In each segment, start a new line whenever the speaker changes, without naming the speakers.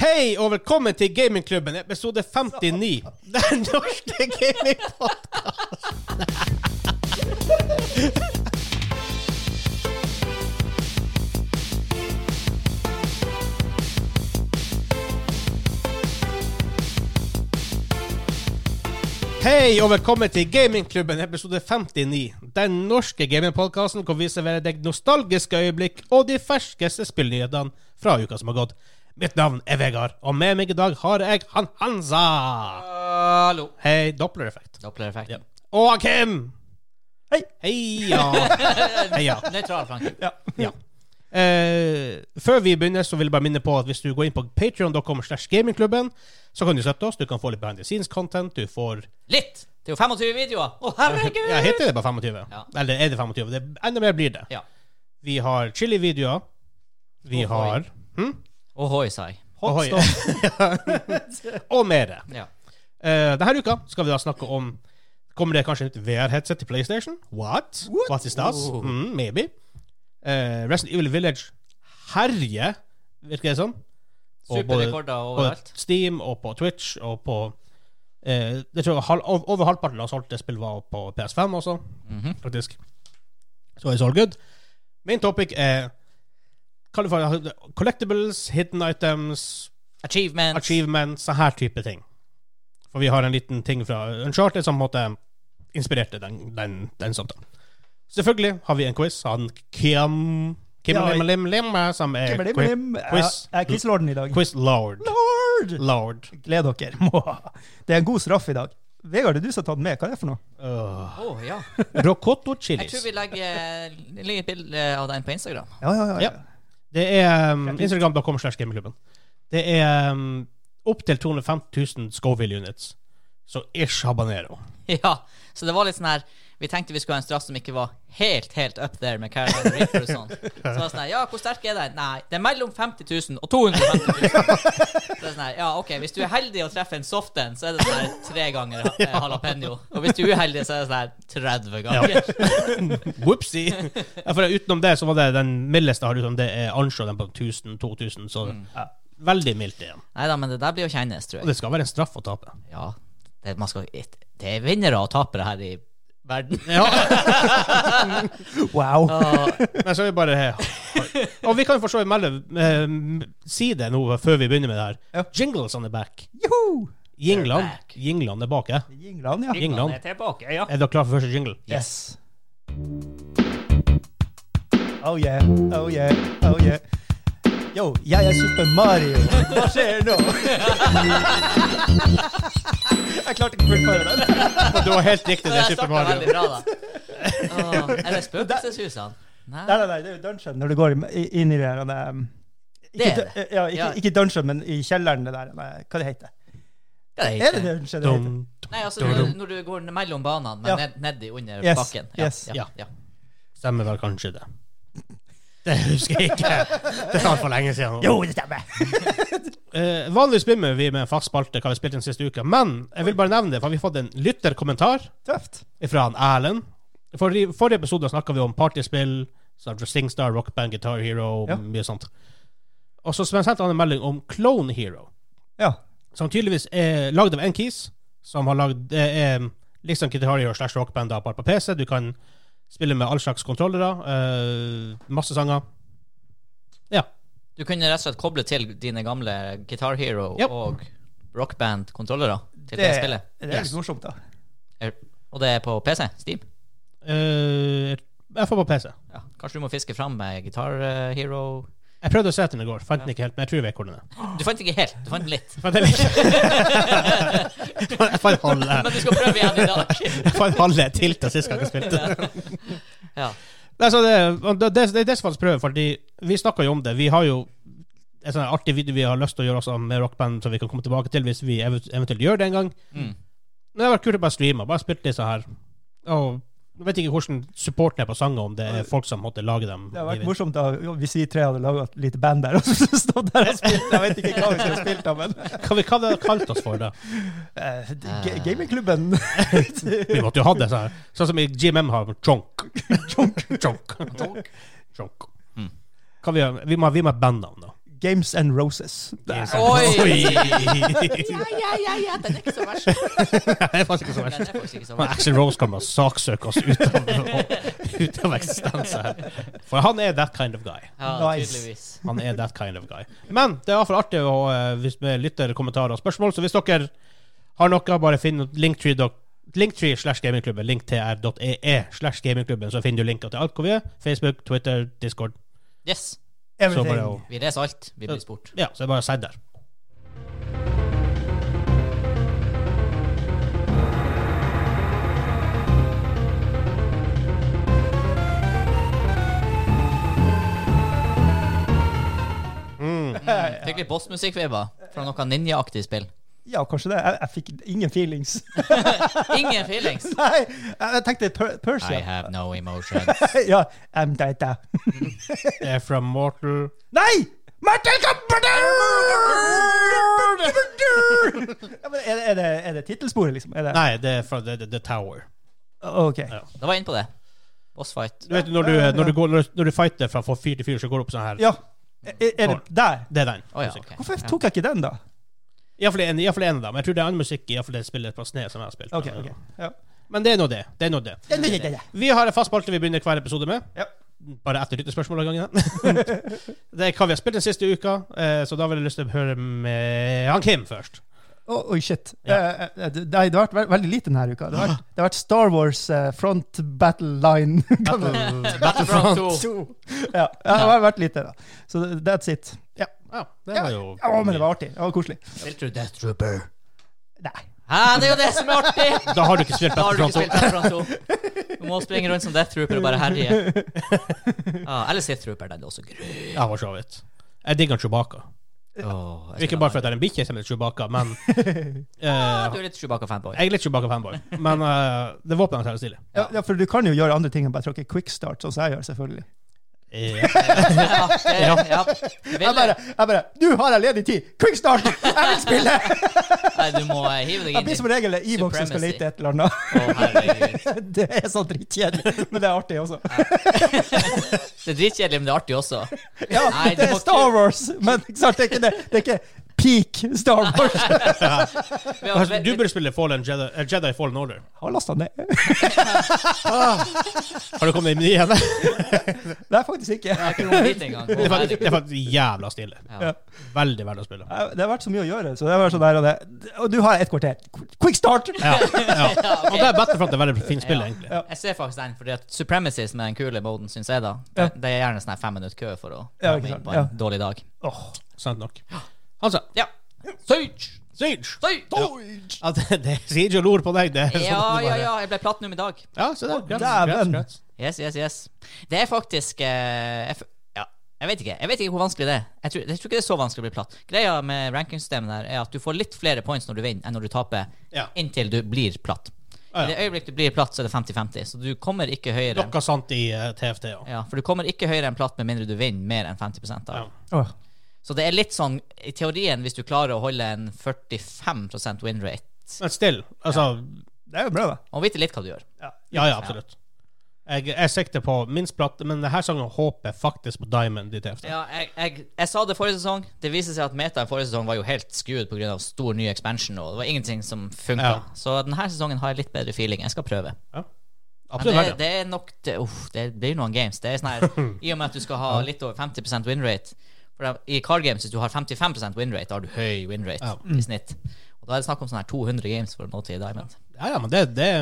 Hei og velkommen til Gamingklubben, episode 59. Den norske gamingpodkasten. Hei og velkommen til Gamingklubben, episode 59. Den norske gamingpodkasten hvor vi serverer deg nostalgiske øyeblikk og de ferskeste spillnyhetene fra uka som har gått. Mitt navn er Vegard, og med meg i dag har jeg han Hansa.
Hallo.
Hei, Doppler-effekt.
Doppler-effekt.
Ja. Og han Kim. Hei. Heia. Heia.
Nøytral, Frank.
Ja. ja. Eh, før vi begynner, så vil jeg bare minne på at hvis du går inn på patreon.com slash gamingklubben, så kan du støtte oss. Du kan få litt behind the scenes content. Du får
Litt! Det er jo 25 videoer. Å, herregud!
Ja, heter det bare 25?
Ja.
Eller er det 25? Det, enda mer blir det.
Ja.
Vi har chili-videoer. Vi
Ohoi.
har
Ohoi, sa jeg.
Ohoi. Og mer.
Ja.
Eh, denne uka skal vi da snakke om Kommer det kanskje et VR-headset til PlayStation? What? What, is that?
Oh.
Mm, maybe. Eh, Resident Evil Village herjer, virker det som. Og både-
Superrekorder
På
overalt.
Steam og på Twitch og på eh, jeg tror halv, ov- Over halvparten av solgte spill var på PS5 også, faktisk. Så it's all good. Min topic er California- collectibles, hidden items,
Achievements.
achievements, så her type ting. For vi har en liten ting fra Uncharted som på en måte inspirerte den, den, den samtalen. Selvfølgelig har vi en quiz. Han Kim Kim
Ja,
Lim Lim Lim, som er
Blim,
qui-
blim.
Eh, quiz,
Jeg er quizlorden i dag.
quiz lord.
Lord!
Lord.
Gled dere. Må- Det er en god straff i dag. Vegard, det er du som har tatt med. Hva er det for noe?
Åh.
Å, ja.
Rocotto
Jeg tror
chilis.
vi legger, eh, legger et bilde av den på Instagram.
Ja, ja, ja.
Ja. Det er um, Instagram.com slash gamingklubben. Det er um, opptil 250 000 Scoville units. Så ish habanero.
Ja. Så det var litt sånn her Vi tenkte vi skulle ha en straff som ikke var helt, helt up there med Caroline Reaper og sånn. Så var det sånn her Ja, hvor sterk er den? Nei, det er mellom 50 000 og 250 000. Så det er sånn her Ja, OK, hvis du er heldig og treffer en soft en, så er det sånn her tre ganger eh, jalapeño. Og hvis du er uheldig, så er det sånn her 30 ganger.
Whoopsie! Ja, for utenom det, så var det den mildeste har du som det er anslå den på 1000-2000, så
Mm.
ja, veldig mildt igjen.
Nei da, men det der blir jo kjennes, tror
Og
jeg.
det skal være en straff å tape.
Ja, det, man skal, det er vinnere og tapere her i verden.
Wow.
Ah. Men så er vi bare Og vi kan jo for så vidt melde eh, Si det nå før vi begynner med det her.
Ja.
Jingles on the back.
Joho!
Jingland,
back.
jingland er bak. eh.
Jingland, ja.
Jingland.
er tilbake, ja.
Er dere klare for første jingle?
Yes. Oh yeah, oh yeah, oh yeah. Yo, jeg er Super Mario. Hva skjer nå? Jeg klarte ikke å fullføre den.
Det var helt riktig, det
Det
er Super
starta veldig
Mario.
bra, da. Åh, er det spøkelseshusene?
Nei,
Nei.
nei, nei, det er jo dungeon når du går i- inn i det der nei, um,
Det
ikke,
er
du- Ja, ikke,
Ja.
ikke dungeon, men i kjelleren det der. Nei, hva det heter
Hva det
Er
heter
det dungeon? Det heter?
Dum.
Nei, altså når, når du går mellom banene, men
Ja.
ned, nedi under
Yes,
bakken.
yes.
Ja, ja.
Stemmer vel kanskje det. Det husker jeg ikke. Det er altfor lenge siden. nå.
Jo, det stemmer!
Eh, vanligvis begynner vi med en fast spalte, hva vi spilte den siste uka. Men jeg vil bare nevne det, for vi har fått en lytterkommentar
Tøft.
fra han Erlend. For I forrige episode snakka vi om partyspill, sånn Singstar, Rockband, Guitar Hero,
Ja.
mye sånt. Og så sendte han en melding om Clone Hero,
Ja.
som tydeligvis er lagd av Enkis, som har lagd Det er liksom Guitar Hero slash Rockband da, bare på PC. Du kan spille med all slags kontrollere, eh, masse sanger. Ja.
Du kunne rett og slett koble til dine gamle Guitar Hero
Ja.
og rockband-kontrollere til det
Det, det,
spillet.
er
Yes.
litt morsomt, da.
Er- Og det er på PC? Steam?
Eh, jeg får på PC.
Ja. Kanskje du må fiske fram med Guitar eh, Hero
Jeg prøvde å se etter den i går, fant den ikke helt, men jeg tror jeg vet hvor den er.
Du fant ikke helt, du fant litt.
Fant den ikke. jeg fant halve.
Men du skal prøve igjen i dag.
Jeg fant halve tilta sist gang jeg spilte.
Ja.
Nei, så det, og det, det, det er det som faktisk prøver, fordi vi snakka jo om det. Vi har jo en sånn artig video vi har lyst til å gjøre også med rockband, som vi kan komme tilbake til hvis vi ev- eventuelt gjør det en gang.
Mm.
Men det har vært kult å bare streame, bare spilt disse her. Og jeg vet ikke hvordan supporten er på sanger, om det er folk som måtte lage dem.
Det hadde vært morsomt da, jo, hvis vi tre hadde laga et lite band der og så stått der og spilt. Jeg vet ikke hva vi skulle spilt da, men
Hva vi hva hadde vi kalt oss for, da?
eh,
Ah.
ga- Gamingklubben
Vi måtte jo ha det sånn. Sånn som i GMM har chonk. chonk. Chonk. chonk.
Mm.
Kan vi, gjøre- vi, må, vi må ha bandnavn, da. sånn-
Games and Roses.
Oi!
Ja, ja, ja, ja, den er ikke så verst. Den
Det er faktisk ikke så
er
verst.
faktisk ikke så
Men
verst.
Axel Rose kan bare saksøke oss ut av, ut av eksistens her. For han er that kind of guy.
Ja,
Nice.
tydeligvis.
Han er that kind of guy. Men det er iallfall artig å, eh, hvis vi lytter kommentarer og spørsmål, så hvis dere har noe, bare finn linktree dot- linktree slash gamingklubben, linktr.ee slash gamingklubben, så finner du linker til alt hvor vi er. Facebook, Twitter, Discord.
Yes.
Så bare
Everything.
å
Vi leser alt. Vi blir spurt.
Ja, så det er bare å sende der.
Fikk litt bossmusikkvibber fra noe ninjaaktig spill.
Ja, kanskje det. Jeg, jeg fikk ingen feelings.
Ingen feelings.
Nei, jeg jeg tenkte per
I
Persia.
have no emotions.
ja, I'm dead, da.
Det er fra Mortal
Nei! Martin Kamperdur! ja, men er, det- er det, er det tittelsporet, liksom? Er det?
Nei, det er fra The, the, the Tower.
Ok.
Da var jeg inne på det. Bossfight.
Du vet når du, når du, går, når du, når du fighter fra fyr til fyr, så går det opp sånn her.
Ja. Er, er det der?
Det er den.
Å ja,
musikken.
ok.
Hvorfor tok jeg ikke den, da?
Iallfall en, iallfall en av dem. Jeg tror det er annen musikk i iallfall det spillet fra Sne som jeg har spilt.
Ok, ok. Ja.
Men det er nå det. Det er nå det.
Ja, ja, ja, ja.
Vi har en fast spalte vi begynner hver episode med.
Ja.
Bare ett lyttespørsmål av gangen. det er hva vi har spilt den siste uka, eh, så da vil jeg lyst til å høre med han Kim først.
Å, Oi, shit.
Ja.
Eh, eh, det, det har vært ve- veldig lite denne uka. Det har vært, det har vært Star Wars eh, Front Battle Line.
Battlefront 2.
To. ja, ja, det har vært lite, da. Så that's it. Ja,
Ja, det var jo
ja men det var artig. Det var koselig.
Spilte du Death Trooper?
Nei.
Hæ, det er jo det som er artig!
Da har du ikke spilt
Da har du ikke
Battlefront
spilt Battlefront 2. Du må springe rundt som Death Trooper og bare herje. Ja, eller Sith Trooper, den er også grønn.
2. Ja, for så vidt. Jeg digger Chewbacca.
Åh, jeg
Ikke
skulle
bare fordi det er en bikkje som heter Chewbacca, men
ha-
eh,
Du er litt Chewbacca-fanboy.
Jeg er litt Chewbacca-fanboy, men eh, det våpenet hans er stille.
Ja, ja, for du kan jo gjøre andre ting enn bare tråkke quickstart, sånn som jeg gjør, selvfølgelig.
Ja.
Ja, det- Eh, ja.
Jeg
Ville.
bare, jeg bare Du har jeg ledig tid! Quickstart! Jeg vil spille!
Nei, du må eh, hive deg
Jeg
inn i
blir som regel E-box som skal
Supremacy.
lete et eller annet.
Å, herregud.
Det er så dritkjedelig, men det er artig også.
Det er dritkjedelig, men det er artig også.
Ja,
Nei, du
det er
må
Star Wars, men ikke sant, det er ikke det. Det er ikke peak Star Wars. Jeg
Vi har-
Altså, Du burde spille Fallen Jedi, eh, Jedi Fallen Order.
Har lasta ned.
Har du kommet deg inn i henne?
Nei, faktisk ikke.
Jeg har ikke kommet dit engang. Å,
Det er faktisk-
herregud.
det er faktisk jævla stille.
Ja.
Veldig verdt å spille.
Det har vært så mye å gjøre, så det har vært sånn der og det. Og du har et kvarter. Quickstart!
Ja, ja.
Ja, ok.
Og det er Battlefront er veldig fint spill,
Ja.
egentlig.
Ja.
Jeg ser faktisk den, fordi at Supremacies med den kule moden, syns jeg, da.
Ja.
Det, det er gjerne sånn her fem minutt kø for å
Ja,
komme
ikke
inn
sant.
på en
Ja.
dårlig dag.
Åh.
Sant nok. Han sa
Ja. Siege!
Siege!
Siege!
Ja, det, det er Siege og lor på deg. Det er sånn
Ja,
at du
ja,
bare-
ja. Jeg ble platinum i dag.
Ja, se der. Grats, grats,
dæven.
grats.
Yes, yes, yes. Det er faktisk eh, jeg, f- Ja, jeg vet ikke Jeg vet ikke hvor vanskelig det er. Jeg tror, jeg tror ikke det er så vanskelig å bli platt. Greia med rankingsystemet der er at du får litt flere points når du vinner, enn når du taper,
Ja.
inntil du blir platt.
Ja, ja.
I det øyeblikk du blir platt, så er det 50-50, så du kommer ikke høyere.
Noe sant i eh, TFT. Ja.
Ja, for du kommer ikke høyere enn platt med mindre du vinner mer enn 50 av.
Ja.
Åh.
Så det er litt sånn I teorien, hvis du klarer å holde en 45 win rate
Men still, altså
Det er jo bra, da.
Og vite litt hva du gjør.
Ja, ja, absolutt. Jeg, jeg sikter på minst platt, men denne sangen håper jeg faktisk på Diamond i TFT.
Ja, jeg, jeg, jeg sa det forrige sesong. Det viser seg at metaen forrige sesong var jo helt skewed pga. stor ny expansion, og det var ingenting som funka.
Ja.
Så denne sesongen har jeg litt bedre feeling. Jeg skal prøve. Men
Absolutt
det,
verdt det.
det er nok det, uff, det blir noen games. Det er sånn her I og med at du skal ha litt over 50 win rate For da- I card games, hvis du har 55 win rate, da har du høy win rate
Ja.
i snitt. Og da er det snakk om sånn her 200 games for å nå til diamond.
Ja, ja, men det, det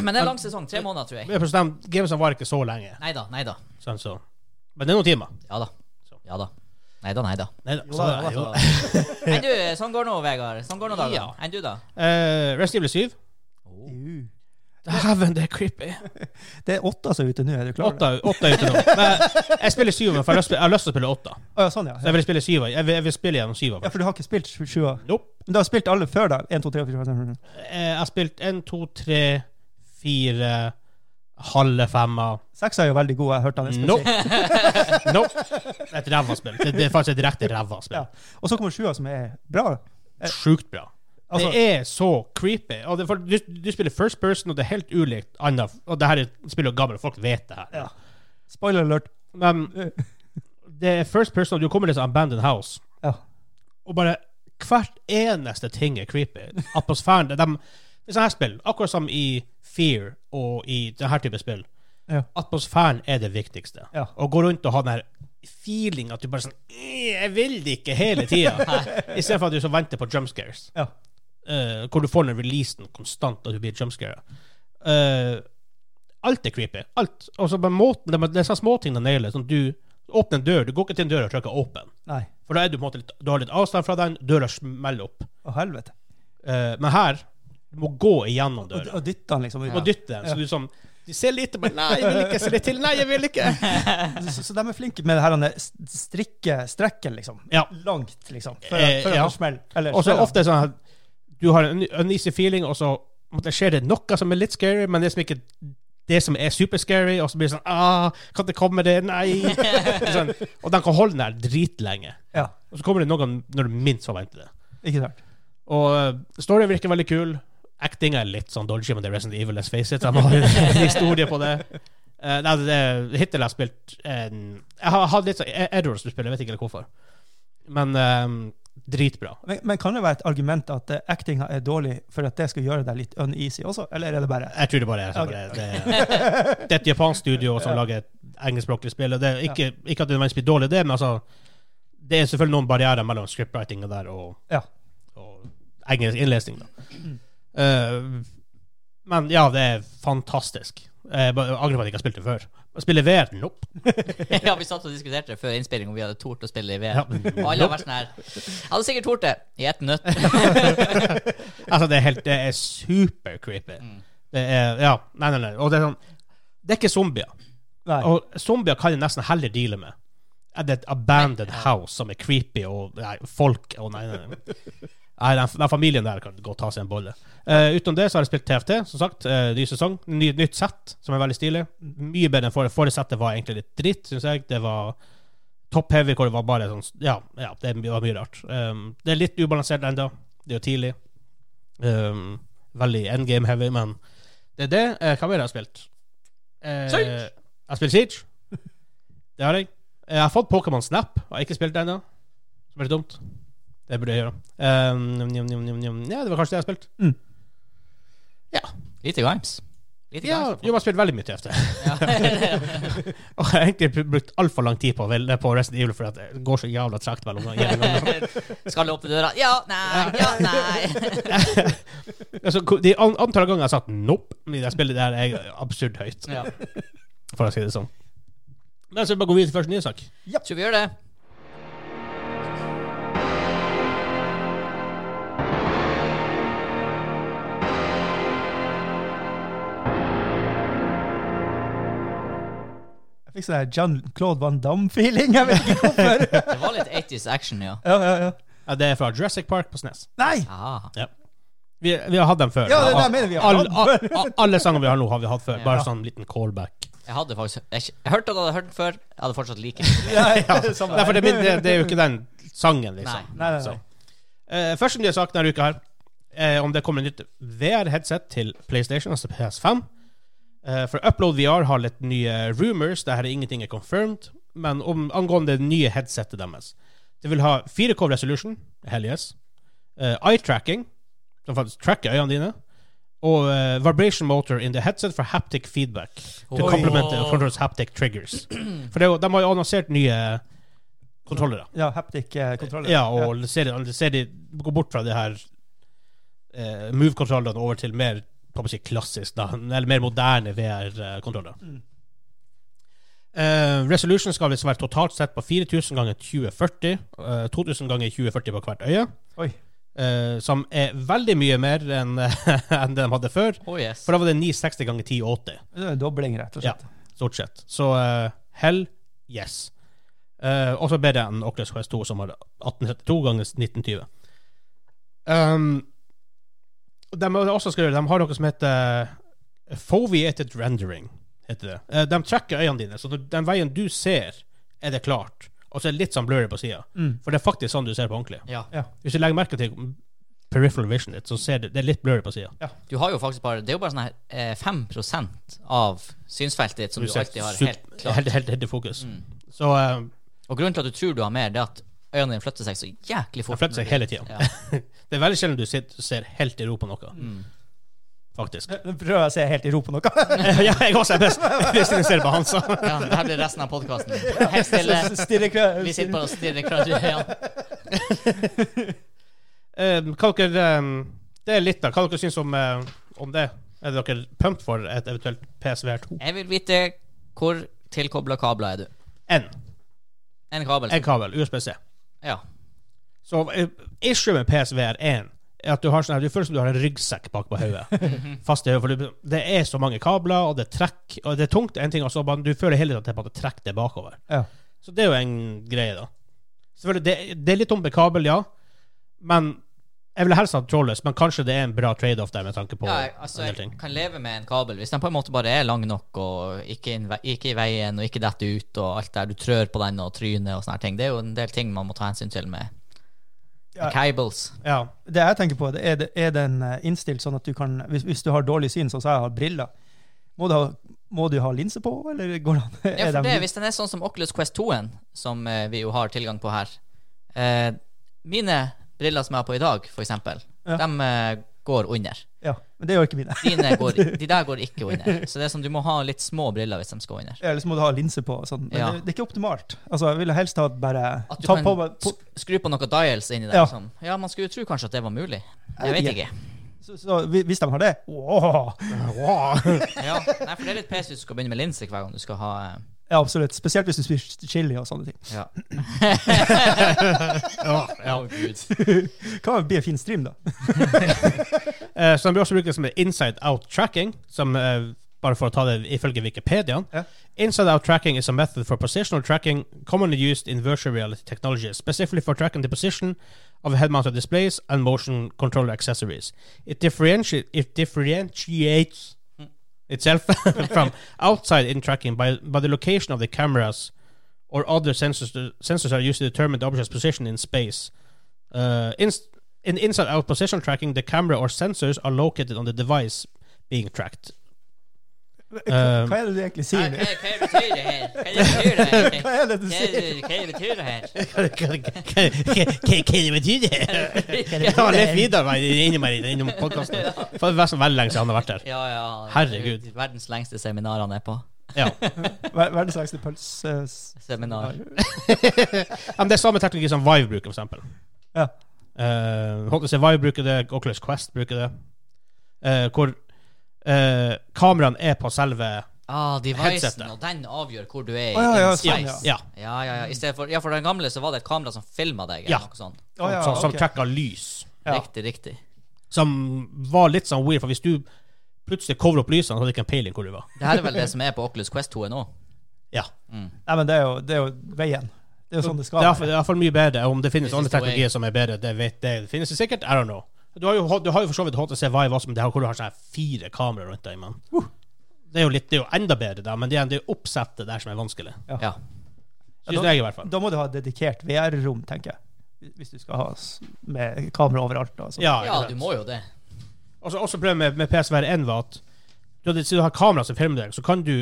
Men det er lang sesong. Tre måneder, tror jeg.
Men for dem, Gamesene var ikke så lenge.
Nei da, nei da.
Sånn, så. Men det er noen timer.
Ja da. Ja da. Nei da, nei da.
Nei da.
Jo
Så,
da,
jo. altså.
Enn du, sånn går nå, Vegard. Sånn går nå dagen.
Ja.
Enn du, da?
Eh, Resident Evil 7.
Uh.
Dæven, det er creepy.
Det er åtte som er ute nå, er du klar? over det?
Åtta åtta er ute nå. Men jeg spiller syver, for jeg har lyst- jeg har lyst til å spille åtta.
Å, ja, sånn, ja.
Så jeg vil spille syver. Jeg vil, jeg vil spille gjennom syver.
Ja, for du har ikke spilt sju- sjua?
Nope.
Men du har spilt alle før da? 1, 2, 3, 4, 5,
Eh, Jeg har spilt én, to, tre, fire, halve femmer.
6 er jo veldig god, jeg hørte han nesten
Nope.
si.
nope. Det er Et ræva spill. Det, det er faktisk et direkte ræva
Ja.
spill.
Og så kommer sjua, som er bra.
Sjukt bra.
eh. Altså-
det er så creepy. Og det, for, du, du spiller first person, og det er helt ulikt annet. Og det her er spiller jo gammel, folk vet det her.
Ja. Spoiler alert.
Men det er first person, du kommer til en abandoned house,
Ja.
og bare hvert eneste ting er creepy. Atmosfæren det, dem- det er sånne her spill, akkurat som i Fear og i denne type spill.
Ja.
Atmosfæren er det viktigste.
Ja.
Å gå rundt og ha den her feeling at du bare sånn "Eh, Jeg vil det ikke hele tida. Istedenfor at du så venter på jumpscares
Ja.
eh, hvor du får den releasen konstant, og du blir jumpscare. Eh, alt er creepy. Alt. Altså, på måten, det, det er sånne småting de nailer. Sånn, du åpner en dør, du går ikke til en dør og trykker åpen.
Nei.
For da er du på en måte litt, du har litt avstand fra den, døra smeller opp.
Å, helvete.
Eh, men her du må gå igjennom
Og,
døra.
og dytte han liksom ut.
Du må dytte den. Så du sånn Du ser lite, men nei, jeg vil ikke se litt til. Nei, jeg vil ikke.
Så, så de er flinke med det her han er st- strikke, strekken, liksom.
Ja.
Langt, liksom. Før
Eh,
han før han
ja.
får smell. Eller
Og så
smell han.
ofte er det sånn at du har en uneasy feeling, og så måtte skjer det noe som er litt scary, men det som ikke det som er superscary, og så blir det sånn ah, Kan det komme det? Nei! sånn. Og den kan holde den der dritlenge.
Ja,
Og så kommer det noen når du minst forventer det.
ikke sant.
Og eh, storyen virker veldig kul. Acting er litt sånn dodgy, men det er Resident Evil, let's face it. De har jo en historie på det. Eh, nei, det er- hittil har jeg spilt en Jeg har hatt litt sånn errors du spiller, jeg vet ikke helt hvorfor. Men eh, dritbra.
Men, men kan det være et argument at eh, actinga er dårlig for at det skal gjøre deg litt uneasy også, eller er det bare
Jeg tror det bare er sånn.
Ok.
Det, det, det er et japansk studio som lager et engelskspråklig spill. og Det er ikke, ikke at det nødvendigvis blir dårlig, det, men altså Det er selvfølgelig noen barrierer mellom scriptwritinga der og,
Ja.
og engelsk innlesning, da. Eh, men ja, det er fantastisk. Eh, Jeg bare- jeg angrer på at jeg ikke har spilt det før. Å Spille VR? Nope.
ja, vi satt og diskuterte det før innspilling om vi hadde tort å spille i
Ja.
VM. Og alle har vært sånn her Jeg hadde sikkert tort det i ett minutt.
Altså, det er helt Det er super creepy. Det er Ja, nei, nei, nei. Og det er sånn Det er ikke zombier.
Nei.
Og zombier kan jeg nesten heller deale med. Er det et abandoned house som er creepy, og nei, folk og Nei, nei, nei. nei den, den familien der kan godt ta seg en bolle. Eh, utenom det så har jeg spilt TFT, som sagt. eh, ny sesong. Ny, nytt sett, som er veldig stilig. Mye bedre enn forrige. Forrige settet var egentlig litt dritt, syns jeg. Det var top heavy, hvor det var bare sånn Ja, ja det var mye rart. Um, det er litt ubalansert ennå. Det er jo tidlig. Um, veldig endgame heavy, men det er det. Eh, hva mer har jeg spilt? Eh,
Siege.
Jeg spiller Siege. Det har jeg. Eh, Jeg har fått Pokémon Snap. Jeg har ikke spilt det ennå. Som er litt dumt. Det burde jeg gjøre. Um, njam, njam, njam, njam. Ja, det var kanskje det jeg har spilt.
Lite Grimes. Lite
Ja,
Grimes.
jo, jeg har spilt veldig mye TFT.
Ja.
Og jeg har egentlig brukt altfor lang tid på, vel- på Resident Evil, for at det går så jævla tregt mellom gjengene.
Skal åpne døra. Ja, nei, ja, nei.
Altså, ko- de an antall ganger jeg har sagt nope i det spillet der, er absurd høyt,
Ja.
for å si det sånn. Men så vil vi bare gå videre til første nye sak.
Tror vi gjør det.
Jeg fikk sånn der Jean-Claude Van Damme-feeling. Jeg vet ikke hvorfor.
Det var litt 80s action, ja.
ja, ja, ja.
Ja, Det er fra Jurassic Park på Snes.
Nei!
Ah.
Vi, vi har hatt dem før.
Ja, det der mener vi har
Alle-
hatt
a- a- alle sanger vi har nå, har vi hatt før. Bare
Ja.
sånn liten callback.
Jeg hadde faktisk Jeg, jeg hørte at jeg hadde hørt den før. Jeg hadde fortsatt like den.
Ja, ja, samme
Nei, for det,
her.
det, det er jo ikke den sangen,
Nei.
liksom.
Nei, nei,
Så.
nei.
Eh, første nye sak denne uka her, eh, om det kommer nytt VR-headset til PlayStation, altså PS5. Eh, for Upload VR har litt nye rumors, det her er ingenting er confirmed, men om, angående det nye headsetet deres. Det vil ha 4K resolution, hell yes, eh, eye-tracking, som faktisk tracker øynene dine, og eh, vibration motor in the headset for haptic feedback. To
Oi.
complement the controllers haptic triggers. For det, er jo- de har jo annonsert nye kontrollere.
Ja, eh, haptic-kontroller.
Ja, og ser de, ser de gå bort fra det her eh, move-kontrollene over til mer kan man si, klassisk, da, eller mer moderne VR-kontroller.
Mm.
Eh, resolution skal visst være totalt sett på 4000 ganger 2040. eh, 2000 ganger 2040 på hvert øye.
Oi.
eh, som er veldig mye mer enn enn det de hadde før.
Oh, yes.
For da var det 960 ganger 1080.
Det er en dobling, rett og
Ja,
slett.
stort sett. Så eh, hell yes. Eh, også bedre enn Oculus Quest 2, som har 1872 ganger 1920. Um, de, må også skrive, de har noe som heter eh, foveated rendering. heter det. Eh, de trekker øynene dine, så den veien du ser, er det klart. Og så er det litt sånn blurry på sida.
Mm.
For det er faktisk sånn du ser på ordentlig.
Ja.
Hvis du legger merke til peripheral vision ditt, så ser du det er litt blurry på sida.
Du har jo faktisk bare Det er jo bare sånn her eh, 5 av synsfeltet ditt som du, alltid har helt klart. Mm.
helt, helt, helt i fokus. Så eh,
Og grunnen til at du tror du har mer, det er at øynene dine flytter seg så jæklig fort.
Den flytter seg hele tiden.
Ja.
Det er veldig sjelden du sitter, ser helt i ro på noe,
Mm.
faktisk.
Nå prøver jeg å se helt i ro på noe.
ja, jeg også er best, hvis jeg ser på han, så.
ja, det her blir resten av podkasten. Helt stille.
Stirre kveld.
Vi sitter bare og stirrer hverandre i øynene.
Eh, hva dere, eh, det er litt, da. Hva dere syns om, eh, om det? Er dere pumped for et eventuelt PSVR 2?
Jeg vil vite hvor tilkobla kabler er du?
En,
En kabel?
en kabel, USB-C.
Ja.
Så eh, issue med PSVR 1 er at du har sånn her, du føler som du har en ryggsekk bak på hodet. Fast i hodet. For du- det er så mange kabler, og det er trekk, og det er tungt. En ting, og så bare, du føler hele tiden at det bare trekker det bakover.
Ja.
Så det er jo en greie, da. Selvfølgelig, det, det er litt dumt med kabel, ja. Men jeg ville helst hatt trådløs, men kanskje det er en bra trade-off der med tanke på
ja jeg- altså,
en del
jeg
ting.
kan leve med en kabel hvis den på en måte bare er lang nok og ikke, inn, ikke i veien og ikke detter ut og alt der. Du trør på den og tryner og sånne her ting. Det er jo en del ting man må ta hensyn til med,
Ja.
med cables.
Ja.
Det jeg tenker på, det er, det- er den eh, innstilt sånn at du kan Hvis, hvis du har dårlig syn, sånn som jeg har briller, må du ha, må du ha linse på, eller går det an?
Ja,
er
for
de-
det, hvis den er sånn som Oculus Quest 2-en, som eh, vi jo har tilgang på her eh, Mine briller som jeg har på i dag, for eksempel,
Ja.
de eh, går under.
ja, men det gjør ikke mine.
Dine går, de der går ikke under. Så det er sånn, du må ha litt små briller hvis de skal under.
Eller så må du ha linse på. og Sånn. Men
Ja.
det, det er ikke optimalt. Altså, jeg ville helst ha bare
At du
ta
kan
på, meg- på,
sk- skru på noen dials inni der.
Ja.
Ja. Som, ja, man skulle jo tro kanskje at det var mulig. Jeg
vet
vet ikke.
så, så, hvi- Hvis de har det åh,
Ja, nei, for det er litt pes hvis du skal begynne med linser hver gang du skal ha eh,
Ja, absolutt. Spesielt hvis du spiser chili og sånne ting.
Ja.
Ja, ja.
Å, Gud.
Kan jo bli en fin stream, da.
Eh, så den blir også brukt som en inside out tracking, som eh, bare for å ta det ifølge Wikipediaen.
Ja.
Inside out tracking is a method for positional tracking commonly used in virtual reality technology, specifically for tracking the position of head-mounted displays and motion controller accessories. It, differenti it differentiates itself from outside in tracking by, by the location of the cameras or other sensors. sensors are used to determine the object's position in space. Uh, inst in inside out position tracking, the camera or sensors are located on the device being tracked.
Hva, hva er det du egentlig
Nei,
sier?
Hva hva
nå?
betyr det her? Hva betyr det her?
Hva er det du
Hva,
sier?
hva betyr det her?
Hva det betyr det? Jeg har levd videre meg inni meg innom podkasten. Det var så veldig lenge siden han har vært der.
Ja, ja.
Herregud.
Verdens lengste seminar han er på.
Ja.
Ver- Verdens lengste pølse...
Seminar.
Ja, Men det er samme teknologi som Vive bruker, for eksempel.
Ja.
Eh, HTC Vive bruker det, Oculus Quest bruker det. Eh, hvor uh, kameraene er på selve
Ah, devicen,
Headsetet.
og den avgjør hvor du er i
Å, ja, ja,
space.
sånn, ja.
Ja,
Ja, ja, ja. I stedet for, ja, for den gamle så var det et kamera som filma deg.
Ja.
Eller noe sånt.
Å, ja,
som, som
ok.
tracker lys.
Ja.
Riktig, riktig.
Som var litt sånn weird, for hvis du plutselig cover opp lysene, så hadde du ikke en peiling hvor du var.
Det her er vel det som er på Oculus Quest 2 nå.
Ja.
Nei, men det er, jo, det er jo veien. Det er jo sånn det
Det
skal
er
være.
iallfall- det er iallfall mye bedre. Om det finnes
This is
andre
the way.
teknologier som er bedre, det, vet, det finnes det sikkert. I don't know. Du har jo, du har jo for så vidt HTC Vive også, men det her hvor du har sånn her fire kameraer rundt deg. Men. Det er jo litt, det er jo enda bedre, da, men det er det er jo oppsettet der som er vanskelig.
Ja.
Synes jeg, i hvert fall.
Da må du ha dedikert VR-rom, tenker jeg. Hvis du skal ha s- med kamera overalt. Og sånn.
Ja,
ja, du må jo det.
Også, også problemet med, med PSVR1 var at du, hadde, siden du har kamera som filmer deg, så kan du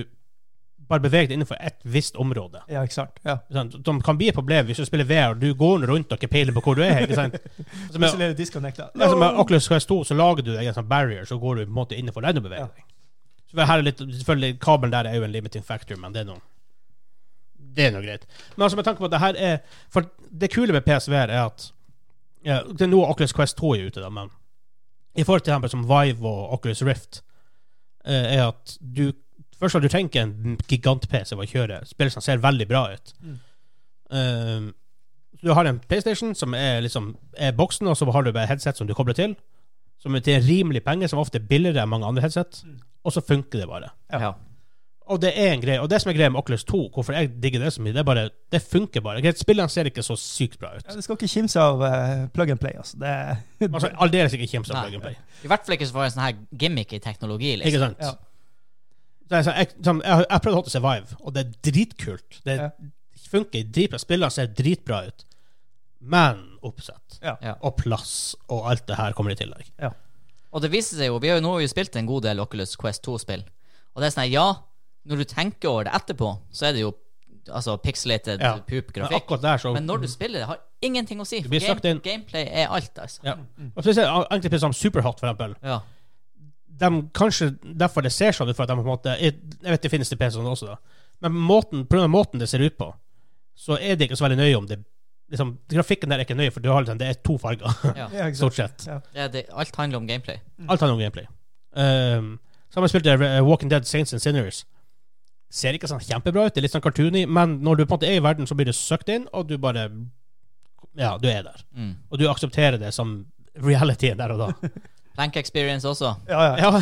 bare bevege deg innenfor et visst område.
Ja, ikke sant? Ja.
Ikke sant? De kan bli et problem hvis du spiller VR og du går rundt og ikke peiler på hvor du er. Ikke sant? Altså, med,
Plutselig er det disconnecta.
Altså, med Oculus Quest 2 så lager du deg en sånn barrier, så går du på en måte innenfor den og beveger deg. Så her er litt, selvfølgelig, kabelen der er jo en limiting factor, men det er noe Det er noe greit. Men altså, med tanke på at det her er For det kule med PSVR er at ja, Det er noe Oculus Quest 2 er ute, da, men i forhold til eksempel som Vive og Oculus Rift, eh, er at du Først skal du tenke en gigant-PC for å kjøre. Spillelsen ser veldig bra ut. Eh, så du har en PlayStation som er liksom er boksen, og så har du bare headset som du kobler til. Som er til en rimelig penge, som ofte er billigere enn mange andre headset. Og så funker det bare.
Ja.
Og det er en greie, og det som er greia med Oculus 2, hvorfor jeg digger det så mye, det er bare Det funker bare. Greit, Spillene ser ikke så sykt bra ut.
Ja, du skal ikke kimse av eh, plug and play. Altså. Det,
Altså, Aldeles ikke Kimsa
Nei.
Plug and Play.
I hvert fall ikke så var det en sånn her gimmicky teknologi.
Ikke
Liksom.
sant?
Ja.
Så jeg, så jeg, sånn, jeg, har- jeg prøvde HTC Vive, og det er dritkult. Det
Ja.
funker dritbra. Spillene ser dritbra ut. Men oppsett.
Ja.
Ja.
Og plass og alt det her kommer i tillegg.
ja.
Og det viser seg jo, vi har jo nå jo spilt en god del Oculus Quest 2-spill. Og det er sånn her, ja, når du tenker over det etterpå, så er det jo altså pixelated
Ja. Men
poop-grafikk.
akkurat der, så
Men når du spiller, det har ingenting å si.
Det
For
blir sagt
game,
inn.
gameplay er alt, altså.
ja. Og så ser jeg egentlig på sånn Superhot, for eksempel.
Ja.
De, kanskje derfor det ser sånn ut, for at de på en måte Jeg jeg vet det finnes til PC-en også, da. Men måten, på grunn av måten det ser ut på, så er det ikke så veldig nøye om det liksom, Grafikken der er ikke nøye, for du har liksom, det er to farger,
ja.
Ja, ikke sant?
stort sett.
Det, er det, alt handler om gameplay.
Alt handler om gameplay. Um, så har man spilt eh, Walking Dead Saints and Sinners. Ser ikke sånn kjempebra ut, det er litt sånn cartoony, men når du på en måte er i verden, så blir du søkt inn, og du bare Ja, du er der.
Mm.
Og du aksepterer det som realityen der og da.
Plank experience også.
Ja, ja.
Ja,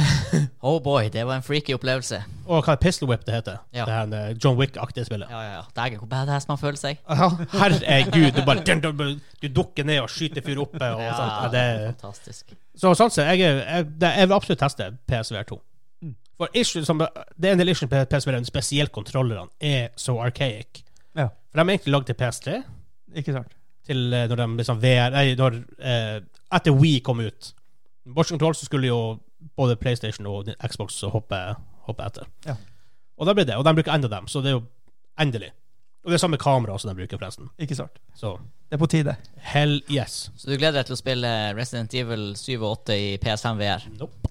Oh boy, det var en freaky opplevelse.
Og hva er Pistol Whip det heter?
Ja.
Det her eh, John Wick-aktige spillet.
Ja, ja, ja. Dægen, hvor badass man føler seg.
Herregud, du bare dun, dun, dun, Du dukker ned og skyter fyr oppe og
Ja,
sånt. Ja,
det
det
er
er
fantastisk.
Så sånn sett, jeg, er- jeg, det- jeg vil absolutt teste PSVR 2.
Mm.
For issue, som, det er en del issues med PSVR, spesielt kontrollerne, er så archaic.
Ja.
For de er egentlig lagd til PS3,
Ikke sant.
til eh, når de liksom VR Nei, når eh, Etter Wii kom ut. Bortsett fra så skulle jo både PlayStation og Xbox hoppe, hoppe etter.
Ja.
Og da ble det, og de bruker enda dem, så det er jo endelig. Og det er samme kamera som de bruker, forresten.
Ikke sant.
Så
Det er på tide.
hell yes.
Så du gleder deg til å spille eh, Resident Evil 7 og 8 i PS5 VR?
Nope.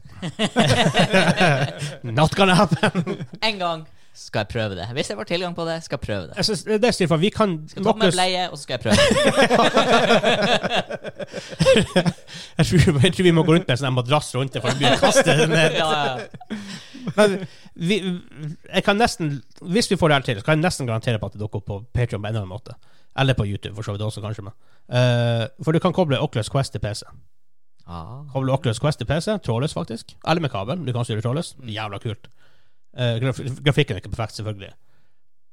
Not gonna happen.
En gang skal jeg prøve det. Hvis jeg får tilgang på det, skal jeg prøve det.
Jeg synes, det er stilt, for vi kan
Jeg skal ta på meg
våknes-
bleie, og så skal jeg prøve det.
jeg, tror, jeg tror vi må gå rundt med en sånn her madrass rundt det for å begynne å kaste det ned.
Ja, ja, ja.
Men vi, jeg kan nesten, hvis vi får det her til, så kan jeg nesten garantere på at det dukker opp på Patreon på en eller annen måte. Eller på YouTube, for så vidt også, kanskje. Men. Eh, for du kan koble Oculus Quest til PC.
Ah.
Koble Oculus Quest til PC, trådløs faktisk. Eller med kabel. Du kan styre trådløs. Jævla kult. Eh, graf grafikken er ikke perfekt, selvfølgelig.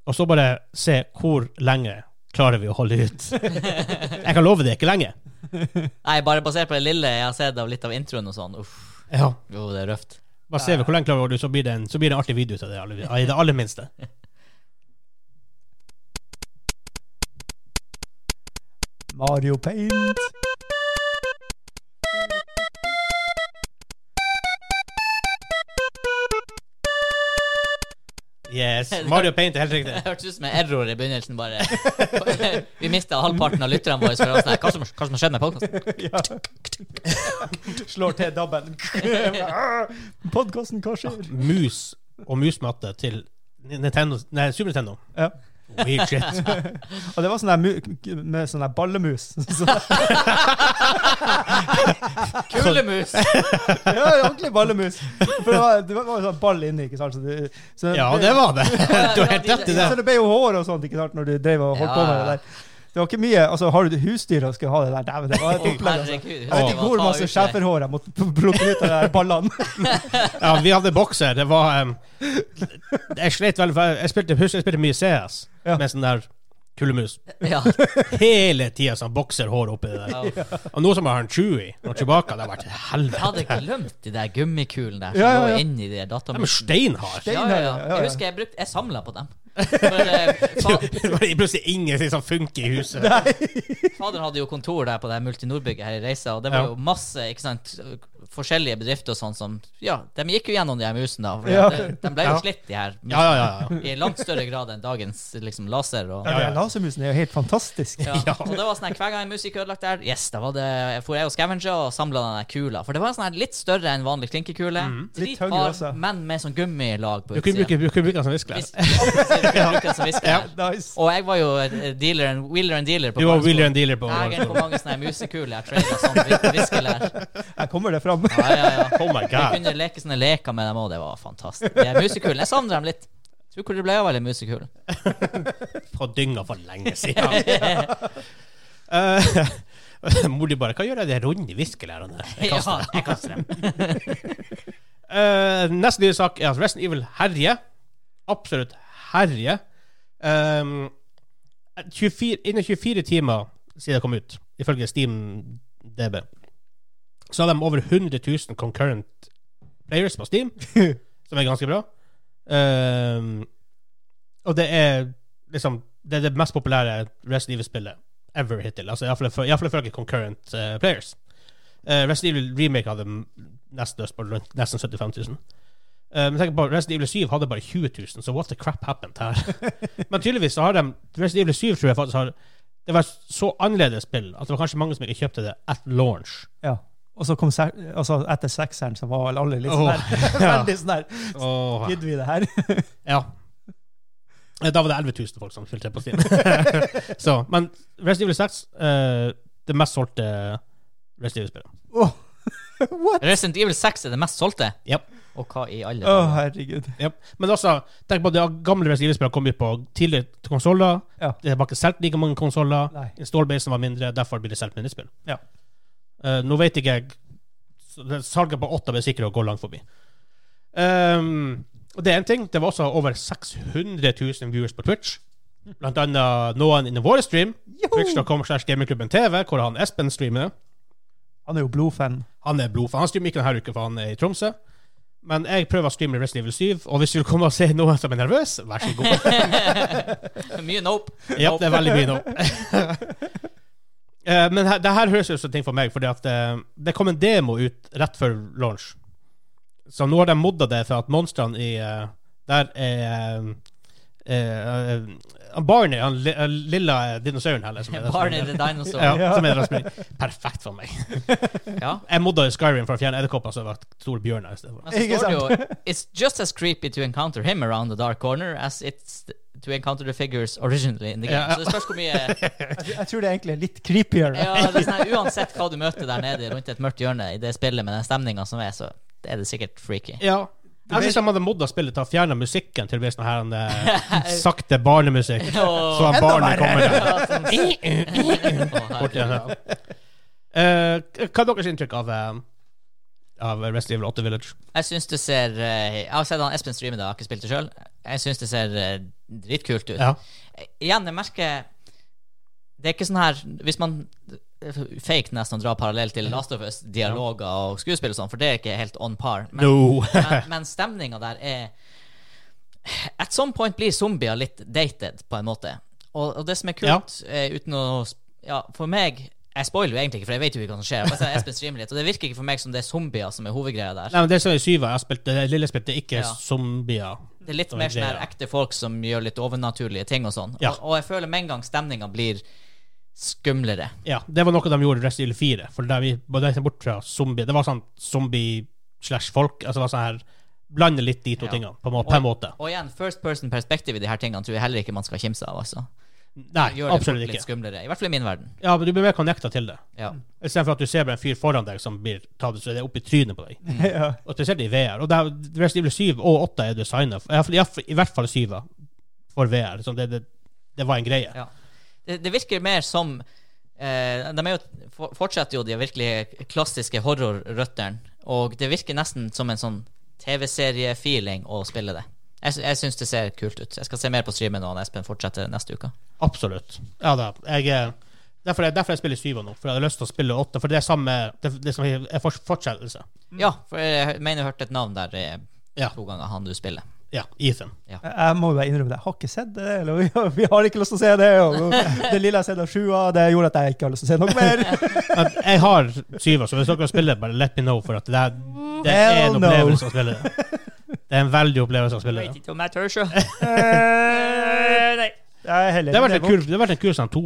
Og så bare se hvor lenge klarer vi å holde ut. Jeg kan love det er ikke lenge.
Nei, bare basert på det lille jeg har sett av litt av introen og sånn. Uff,
Ja.
jo, det er røft.
Bare se hvor lenge klarer du, holde ut, så blir det en, så blir det en artig video til det, alle- i det aller minste.
Mario Paint.
Yes. Mario Paint er helt riktig.
Det hørtes ut som en error i begynnelsen, bare. Vi mista halvparten av lytterne våre. For det var sånn her, hva, som, hva som har skjedd med podkasten?
Ja. Slår til dabben. Podkasten, hva skjer?
Mus og musmatte til Nintendo, nei, Super Nintendo.
Ja.
Weird shit.
Og det var sånn der mu med sånn der ballemus. Så,
Kulemus!
ja, ordentlig ballemus. For det var, det var jo sånn ball inni, ikke sant. Så det, så
Ja, det var det. Du har helt rett i
Ja, så
det.
det ble jo hår og sånt ikke sant, når du drev og holdt
Ja.
på med det der. Det var ikke mye, altså Har du husdyr og skulle ha det der Dæven, det var et
Å,
opplegg. Altså.
herregud.
Jeg vet ikke hvor
Ta ut
masse
det.
schæferhår jeg måtte plukke ut av de der ballene.
Ja, vi hadde bokser. Det var um, Jeg slet veldig for jeg spilte, husker jeg spilte mye CS
Ja.
med sånn der kullemus.
Ja.
Hele tida sånn bokserhår oppi det der.
Au.
Og nå som jeg har en Chewie og Chewbacca, det har vært
Jeg
helvete.
hadde glemt de der gummikulene der som
Ja, ja, ja.
lå inni de
De er
datamus.
steinharde.
Ja, ja, ja. Jeg husker jeg brukte Jeg samla på dem. For, eh, fa
Det var plutselig ingenting som funker i huset.
Faderen hadde jo kontor der på det her Multinor-bygget her i Reisa, og det
Ja.
var jo masse ikke sant, forskjellige bedrifter og sånn som Ja, de gikk jo gjennom de her musene, da. For
Ja.
de, de ble jo
Ja.
slitt, de her.
Ja, ja, ja. ja.
I langt større grad enn dagens liksom, laser. Og,
Ja,
Ja, ja.
ja. Lasermusen er jo helt fantastisk.
ja.
Ja.
Så det var sånn her, Hver gang en mus gikk ødelagt der, yes, da var det, for jeg og scavenger og samla den der kula. For det var en sånn her litt større enn vanlig klinkekule.
Mm.
Litt
Drithard,
høyere også.
men med sånn gummilag på
Du kunne bruke,
utsida.
du kunne bruke sånn den som viskelær.
Hvis- alltid bruker den som viskelær.
Nice.
Og jeg var jo eh, dealer and, wheeler and dealer. på
Du var
barneskolen.
William Dealer på
Egen på
barneskolen.
mange sånne her musekuler jeg tradet som viskelær.
Her kommer det fram.
Ja, ja, ja.
Oh my
Vi
god.
kunne leke sånne leker med dem òg, det var fantastisk. De her musekulene. Jeg savner dem litt. Tror hvor det ble av alle musekuler.
På dynga for lenge siden. Eh, Mor di bare Hva gjør jeg de runde viskelærene her? Jeg kaster dem.
jeg kaster dem.
Eh, neste nye sak er at Resident Evil herjer. Absolutt herjer. Um, 24, innen 24 timer siden det kom ut, ifølge Steam DB, så har de over 100 000 concurrent players på Steam, som er ganske bra. Um, og det er liksom Det er det mest populære Resident Evil-spillet ever hittil. Altså Iallfall ifølge concurrent eh, players. Eh, Resident Evil Remake hadde m- nesten størst på rundt- nesten 75 000. Eh, men tenk på Resident Evil 7 hadde bare 20 000, så what the crap happened her? men tydeligvis så har de Resident Evil 7 tror jeg faktisk har Det var så annerledes spill at det var kanskje mange som ikke kjøpte det at launch.
Ja. Og så kom se- altså etter sekseren, så var vel alle litt sånn
Åh,
her.
ja.
Veldig sånn her.
Åh.
Gidder vi det her?
Ja. Eh, Da var det 11 000 folk som spilte på Steam. så, men Resident Evil 6, eh, det mest solgte Resident Evil-spillet.
Åh, What?
Resident Evil 6 er det mest solgte?
Ja.
Og hva i alle
Å, herregud.
Jep. Men også, tenk på at de gamle Resident Evil-spillene kom ut på tidligere konsoller.
Ja.
Det var ikke solgt like mange konsoller.
Nei.
Installbasen var mindre, derfor blir det solgt mindre spill.
Ja.
Eh, nå vet ikke jeg så det- Salget på åtte blir sikkert å gå langt forbi. Ehm, og det er en ting. Det var også over 600 000 viewers på Twitch. Blant annet noen innen vår stream, twitch.com slash gamingklubben TV, hvor han Espen streamer.
Han er jo blodfan.
Han er blodfan. Han streamer ikke denne uka, for han er i Tromsø. Men jeg prøver å streame Resident Evil 7, og hvis du vil komme og se noen som er nervøs, vær så god.
fall. Mye nope.
Ja, det er veldig mye nå. Eh, Men her, det her høres ut som ting for meg, fordi at eh, det kom en demo ut rett før launch. Så nå har de modda det for at monstrene i eh, Der er eh, eh, han Barney, han li- eh, lilla dinosauren her, liksom. er det som er-
Barney the Dinosaur.
Ja, som er det som er perfekt for meg.
Ja.
Jeg modda Skyrim for å fjerne edderkopper, så det var store bjørner i stedet.
Men så
Ikke
står det jo It's just as creepy to encounter him around the dark corner as it's to encounter the figures originally in the game.
Ja.
Så det spørs hvor mye
Jeg, jeg tror det er egentlig er litt creepier.
ja, det er sånn, her, Uansett hva du møter der nede rundt et mørkt hjørne i det spillet med den stemninga som er, så er det sikkert freaky.
Ja. Jeg syns de hadde modda spillet til å fjerne musikken til å bli sånn her en, eh, sakte barnemusikk.
Åh.
Så han
Enda
barnet kommer
Ja, sånn- Åh,
bort
herregud.
igjen. Eh, hva er deres inntrykk av, eh, av Resident Evil 8 Village?
Jeg syns det ser eh, Jeg har sett han Espen streame det, jeg har ikke spilt det sjøl. Jeg syns det ser eh, dritkult ut.
Ja.
Eh, Igjen, jeg merker Det er ikke sånn her Hvis man eh, fake nesten å dra parallell til Last of Us, dialoger og skuespill og sånn, for det er ikke helt on par. Men,
No.
men, men stemninga der er At some point blir zombier litt dated, på en måte. Og, og det som er kult, eh, uten å sp- Ja, for meg Jeg spoiler jo egentlig ikke, for jeg vet jo ikke hva som skjer. Jeg bare ser Espen streamer litt, og det virker ikke for meg som det er zombier som er hovedgreia der.
Nei, men det som er syva, jeg har spilt det lille spilt, det er ikke
Ja.
zombier.
Det er litt
Som
mer
er
sånn her
greia.
ekte folk som gjør litt overnaturlige ting og sånn.
Ja.
Og, og jeg føler med en gang stemninga blir skumlere.
Ja, det var noe de gjorde i Resident Evil 4, for der vi var der bort fra zombie. Det var sånn zombie slash folk. Altså det var sånn her Blande litt de to
Ja.
tingene, på, en må- på en måte.
Og igjen, first person-perspektiv i de her tingene tror jeg heller ikke man skal kimse av. altså.
Nei,
Gjør det
absolutt
fort litt
ikke.
skumlere. I hvert fall i min verden.
Ja, men Du blir mer connecta til det.
Ja.
Istedenfor at du ser bare en fyr foran deg som blir tatt, så er det opp i trynet på deg.
Ja.
Og spesielt i VR. Og det er, Resident Evil 7 og 8 er designa I hvert fall 7 for VR. Så det, det, det var en greie.
Ja. Det, det virker mer som eh, De er jo, for- fortsetter jo de virkelig klassiske horrorrøttene, og det virker nesten som en sånn TV-serie-feeling å spille det. Jeg, sy- jeg syns det ser kult ut. Jeg skal se mer på streamen når Espen fortsetter neste uke.
Absolutt. Ja da. Jeg, er- derfor, jeg, derfor jeg spiller 7 nå. For jeg hadde lyst til å spille 8. For det er samme Det, det som er er fors- fortsettelse.
Ja, for jeg mener jeg hørte et navn der eh,
Ja.
to ganger, han du spiller.
Ja. Ethan.
Jeg- Jeg må jo bare innrømme det. Jeg har ikke sett det. Eller, vi, har, vi har ikke lyst til å se det. Og det lille jeg har sett av sjua, det gjorde at jeg ikke har lyst til å se noe mer.
Men jeg har 7, så hvis dere spiller, bare let me know, for at det er, det er
Hell
en
no.
opplevelse å spille det. Det er en veldig opplevelse å spille det.
Eh, nei. Det er heller
Det har vært en
det er
kul, det har vært en kul sånn to,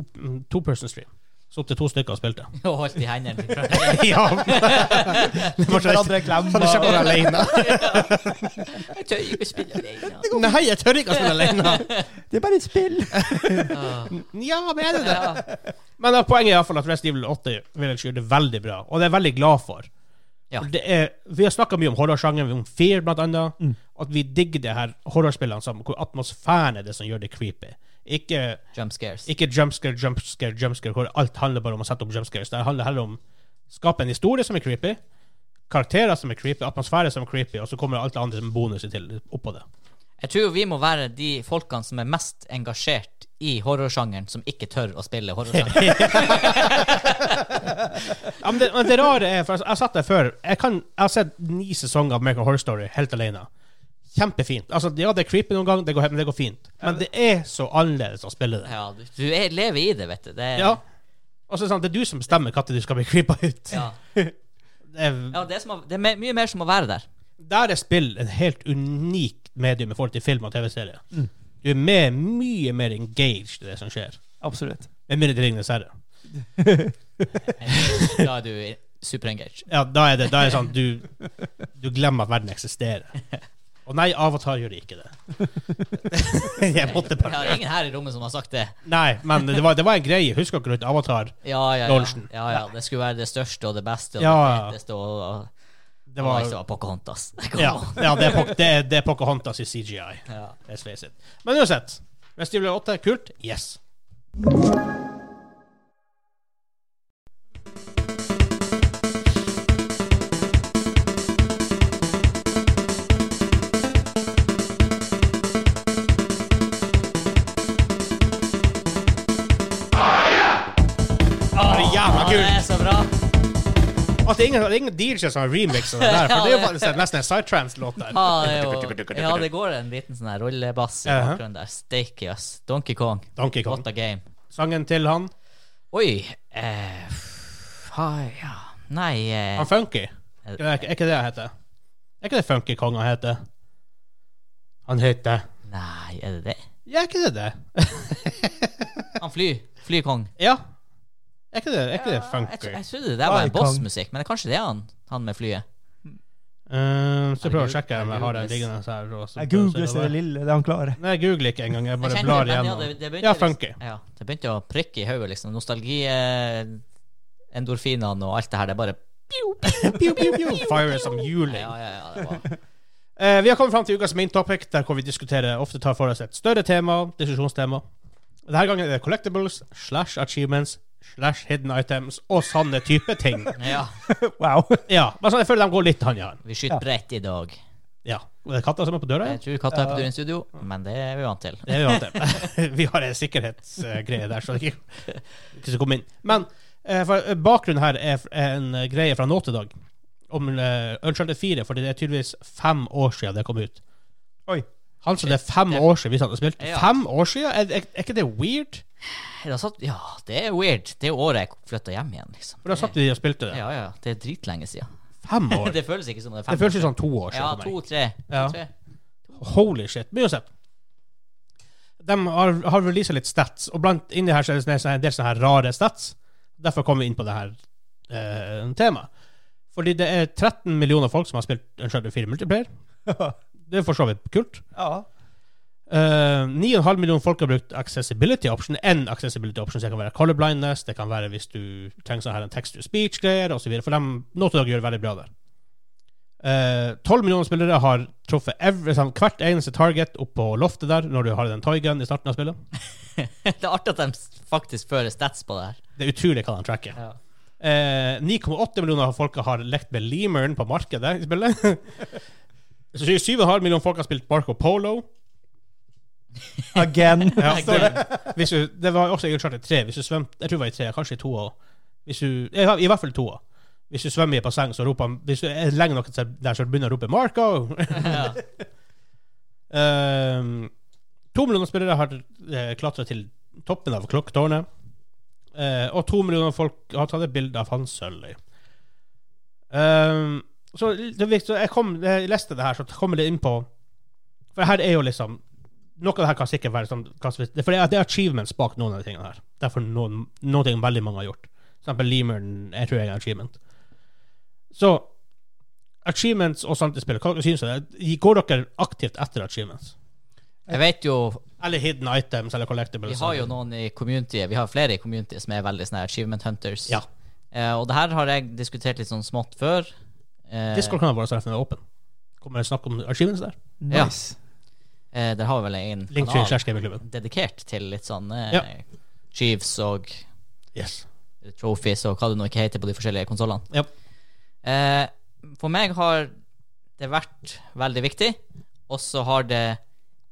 to person stream. Så opptil to stykker har spilt det.
Og holdt i hendene. til hverandre.
ja. Det
vondt.
var så-
Hverandre
Kan du
klemmer.
kjempe alene?
Jeg tør ikke spille alene.
Nei, jeg tør ikke å spille alene.
Det er bare et spill.
Ah,
Ja, men er det det?
ja.
Men da, poenget er iallfall at Resident Evil 8 Village gjør det veldig bra, og det er jeg veldig glad for.
Ja.
For Det er, vi har snakka mye om horrorsjangeren, om Fear blant annet. At vi digger det her horrorspillene som hvor atmosfæren er det som gjør det creepy. Ikke,
Jump scares.
ikke jumpscare, jumpscare, jumpscare, hvor alt handler bare om å sette opp jumpscares. Det handler heller om skape en historie som er creepy, karakterer som er creepy, atmosfære som er creepy, og så kommer alt det andre som bonus til oppå det.
Jeg tror vi må være de folkene som er mest engasjert i horrorsjangeren, som ikke tør å spille horrorsjanger.
Ja, men det, men det rare er, for jeg, jeg satt der før jeg, kan, jeg har sett ni sesonger av American Horror Story helt alene. Kjempefint. Altså, ja, det er creepy noen gang, det går, men det går fint. Men det er så annerledes å spille det.
Ja, du du er, lever i det, vet du. Det er,
Ja. Og så er det sånn, det er du som bestemmer når du skal bli creepa ut.
Ja.
Det er,
Ja, det, er som, å- det er me- mye mer som å være der.
Der er spill en helt unikt medium i forhold til film og TV-serie.
Mm.
Du er med mye mer engaged i det som skjer.
Absolutt.
Med mindre det ligner serre.
Da er du superengaged.
Ja, da er det, da er det sånn du, du glemmer at verden eksisterer. Og nei, Avatar gjør ikke det. Jeg måtte
Jeg
bare
har ingen her i rommet som har sagt det.
Nei, men det var, det var en greie. Husker dere rundt Avatar?
Ja, ja, ja.
Lorentzen.
ja, ja. Det skulle være det største og det beste og
Ja, ja.
det feteste og, og
Det var,
det var Pocahontas. Kom
ja,
on.
ja, det er, Poc- det, er, det er Pocahontas i CGI.
Ja.
Let's face it. Men uansett. Resident Evil 8, kult. Yes. Det er jævla
Ja,
kult.
det er så bra.
At det er ingen, det er ingen DJ som har remixet det der, for det er jo faktisk en- nesten en sidetrance-låt der.
Ja, det, er jo, ja, det går en liten sånn her rullebass i
Jaha.
bakgrunnen der. Steike, ass. Donkey Kong.
Donkey Kong.
What a game.
Sangen til han.
Oi eh, ha, ja. Nei eh,
Han Funky. Er det- er ikke det han heter? Er ikke det Funky Kong han heter? Han heter
Nei, er det det?
Ja, er ikke det det?
Han flyr. Flykong.
Ja. Er ikke det, er ikke det
Jeg, tro-
Funky?
jeg trodde det der var
Fly
en
Kong.
bossmusikk, men det er kanskje det er han, han med flyet.
Eh, så jeg prøver å sjekke om jeg har den
Jeg
liggende her. og så-
Jeg googler så det lille, det han klarer.
Nei, jeg googler ikke engang. Jeg bare
Jeg
blar
kjenner det, men ja, det- det
igjennom.
begynte
Ja,
liksom-
Funky.
Ja, det begynte å prikke i hodet, liksom. Nostalgi, eh, endorfinene og alt det her. Det er bare
Pew, pew, pew. Fire som juling.
Ja, ja, ja. Det var.
Eh, vi har kommet fram til ukas main topic, der hvor vi diskuterer ofte tar for oss et større tema. diskusjonstema. Denne gangen er det collectibles slash achievements slash hidden items og sanne type ting.
ja.
Wow.
Ja, men sånn, Jeg føler de går litt hånd i hånd.
Vi skyter bredt i dag.
Ja. Og Det er katta som er på døra?
Jeg
ja?
tror katta er på tur i studio, men det er vi vant til.
Det er jo alltid. vi har en sikkerhetsgreie der, så det ikke ikke skal komme inn. Men eh, for, eh, bakgrunnen her er f- er en eh, greie fra nå til dag om eh, Uncharted 4, fordi det er tydeligvis fem år siden det kom ut.
Oi.
Han som det er fem år siden vi satt og spilte.
Ja.
Fem år siden? Er, er, er ikke det weird?
Det har satt, ja, det er weird. Det er jo året jeg flytta hjem igjen, liksom.
For da satt vi og spilte det.
Ja, ja. Det er dritlenge siden.
Fem år.
Det føles ikke som det er fem
Det føles
år
jo sånn to år
siden. Ja,
siden. for meg.
to-tre.
Ja.
To,
Holy shit. Men uansett. De har, har releasa litt stats, og blant inni her så er det sånne- en del sånne her rare stats. Derfor kom vi inn på det her eh, temaet. Fordi det er 13 millioner folk som har spilt Uncharted 4 Multiplayer. Det er for så vidt kult.
Ja.
Eh, 9,5 millioner folk har brukt accessibility option. En accessibility option så det kan være colorblindness, det kan være hvis du trenger sånn her en text to speech-greier osv. For de nå til dag gjør det veldig bra der. Eh, 12 millioner spillere har truffet every, sånn, hvert eneste target oppå loftet der når du har den toygun i starten av spillet.
tre. Det er artig at de faktisk fører stats på det her.
Det er utrolig hva de tracker.
Ja.
Eh, 9,8 millioner folk har lekt med lemeren på markedet i spillet. Så 7,5 millioner folk har spilt Barco Polo.
Again.
Ja,
Nei,
det,
det-
hvis du, det var også i Uncharted 3. Hvis du svømte Jeg tror det var i 3, kanskje i 2 òg. Hvis du ja, I hvert fall 2 òg. Hvis du svømmer i et basseng, så roper han Hvis du er lenge nok til der, så begynner han å rope 'Marco'!
Ja.
Ehm, to millioner spillere har uh, klatra til toppen av klokketårnet. Eh, og to millioner folk har tatt et bilde av Hans Sølvøy. Ehm, så det er viktig- jeg, kom, jeg leste det her, så kommer det inn på For her er jo liksom Noe av det her kan sikkert være sånn kan- For det er, det er achievements bak noen av de tingene her. Derfor noen, noen ting veldig mange har gjort. For eksempel Lemeren jeg tror jeg er en achievement. Så achievements og samtidsspill, hva dere synes dere? Går dere aktivt etter achievements?
Jeg vet jo
Eller hidden items eller collectibles?
Vi har jo noen i communityet Vi har flere i communityet som er veldig sånne achievement hunters.
Ja.
Eh, og det her har jeg diskutert litt sånn smått før. Eh,
Discord-kanalen vår er selvfølgelig åpen. Kommer det snakk om achievements der?
Nice.
eh, der har vi vel en
Linktree
kanal
slash gamingklubben.
dedikert til litt sånn eh,
Ja.
achieves og
Yes.
trophies og hva det nå ikke heter på de forskjellige konsollene.
Ja.
Eh, for meg har det vært veldig viktig, og så har det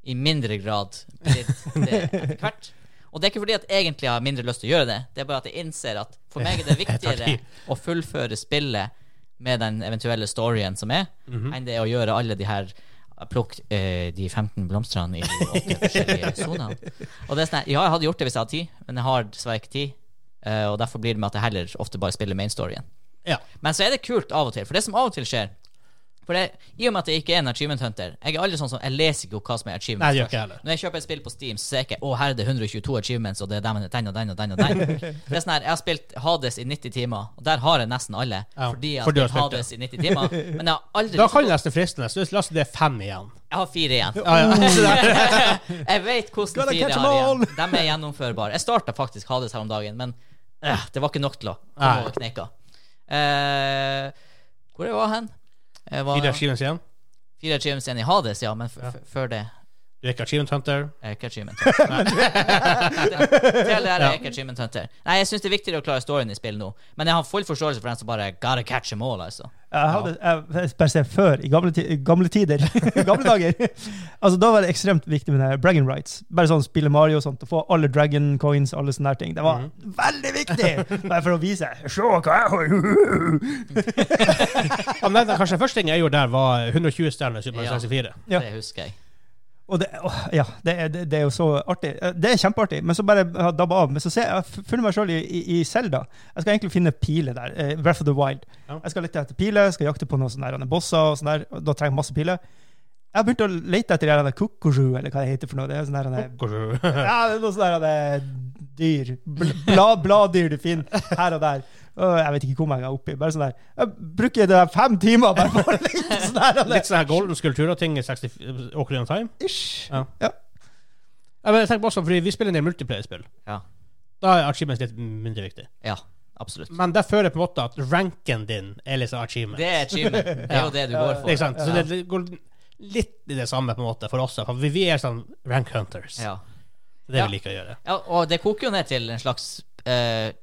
i mindre grad blitt det etter hvert. Og det er ikke fordi at jeg egentlig har mindre lyst til å gjøre det, det er bare at jeg innser at for meg er det
tar
viktigere
tid.
å fullføre spillet med den eventuelle storyen som er,
Mhm.
enn det er å gjøre alle de her Plukk eh, de 15 blomstene i de åtte forskjellige sonene. Og det er sånn, her, ja, jeg hadde gjort det hvis jeg hadde tid, men jeg har dessverre ikke tid. eh, og derfor blir det med at jeg heller ofte bare spiller main storyen.
ja.
Men så er det kult av og til, for det som av og til skjer, For det, I og med at jeg ikke er en achievement hunter Jeg er aldri sånn som, jeg leser ikke opp hva som er achievement
Nei, det gjør ikke jeg heller.
Når jeg kjøper et spill på Steam, så ser jeg ikke Å, her er det 122 achievements, og det er den og den og den og den. og den. Det er sånn her, Jeg har spilt Hades i 90 timer, og der har jeg nesten alle.
Ja,
Fordi jeg
fordi du
har
har
spilt
spilt det.
Hades i 90 timer. Men jeg har aldri
Da kan det nesten fristende. Så la oss si det er fem igjen. Ah,
Jeg har fire igjen.
Ja, ja.
Jeg vet hvordan
Gotta
fire jeg
catch 'em
har igjen.
all.
De er gjennomførbare. Jeg starta faktisk Hades her om dagen, men øh, det var ikke nok til å
Nei.
komme over kneika. Eh, hvor jeg var hen? Jeg var,
Fire achievements igjen.
fire achievements igjen i Hades, ja, men f f før det eh,
Du er ikke achievement hunter.
Jeg er ikke achievement hunter. Til det her er jeg ikke achievement hunter. Nei, jeg syns det er viktigere å klare storyen i spill nå, men jeg har full forståelse for den som bare gotta catch them all, altså.
Jeg hadde, jeg, bare se før, i gamle, ti, gamle tider, i gamle dager altså Da var det ekstremt viktig med det her bragging rights. Bare sånn spille Mario og sånt, og få alle dragon coins alle sånne her ting. Det var veldig viktig! Bare for å vise Se hva jeg har!
Ja, men den, Ah, kanskje første ting jeg gjorde der, var 120 stjerner i Super Mario
Ja.
64.
Ja.
Det husker jeg.
Og det, åh, ja, det, er- det, det er jo så artig. Eh, Det er kjempeartig, men så bare har jeg dabba av. Men så ser jeg, jeg har funnet meg sjøl i, i, i Zelda. Jeg skal egentlig finne piler der. eh, Breath of the Wild.
Ja.
Jeg skal lete etter piler, skal jakte på noen sånne der, bosser og sånn der. og Da trenger jeg masse piler. Jeg har begynt å lete etter de der kukuru, eller hva det heter for noe. Det er sånne der, ja, det er noe sånne der, eh, dyr. Bl- Bla, bladdyr du finner her og der. Åh, jeg vet ikke hvor mange jeg er oppi. Bare sånn der. Jeg bruker det der fem timer bare for å lete sånn her. og
Litt
der.
sånn her golden skulpturer-ting i 60 Ocarina of Time.
Ish.
Ja.
Ja.
Ja, men jeg tenker på også, fordi Vi spiller en del multiplayer-spill.
Ja.
Da er achievements litt mindre viktig.
Ja, absolutt.
Men der føler jeg på en måte at ranken din er liksom achievement.
Det er achievement. Det er jo det du går
Ikke
for.
sant? Så det går litt i det samme på en måte for oss. For vi, vi er sånn rank hunters.
Ja.
Det
Ja.
vi liker å gjøre.
ja, og det koker jo ned til en slags eh,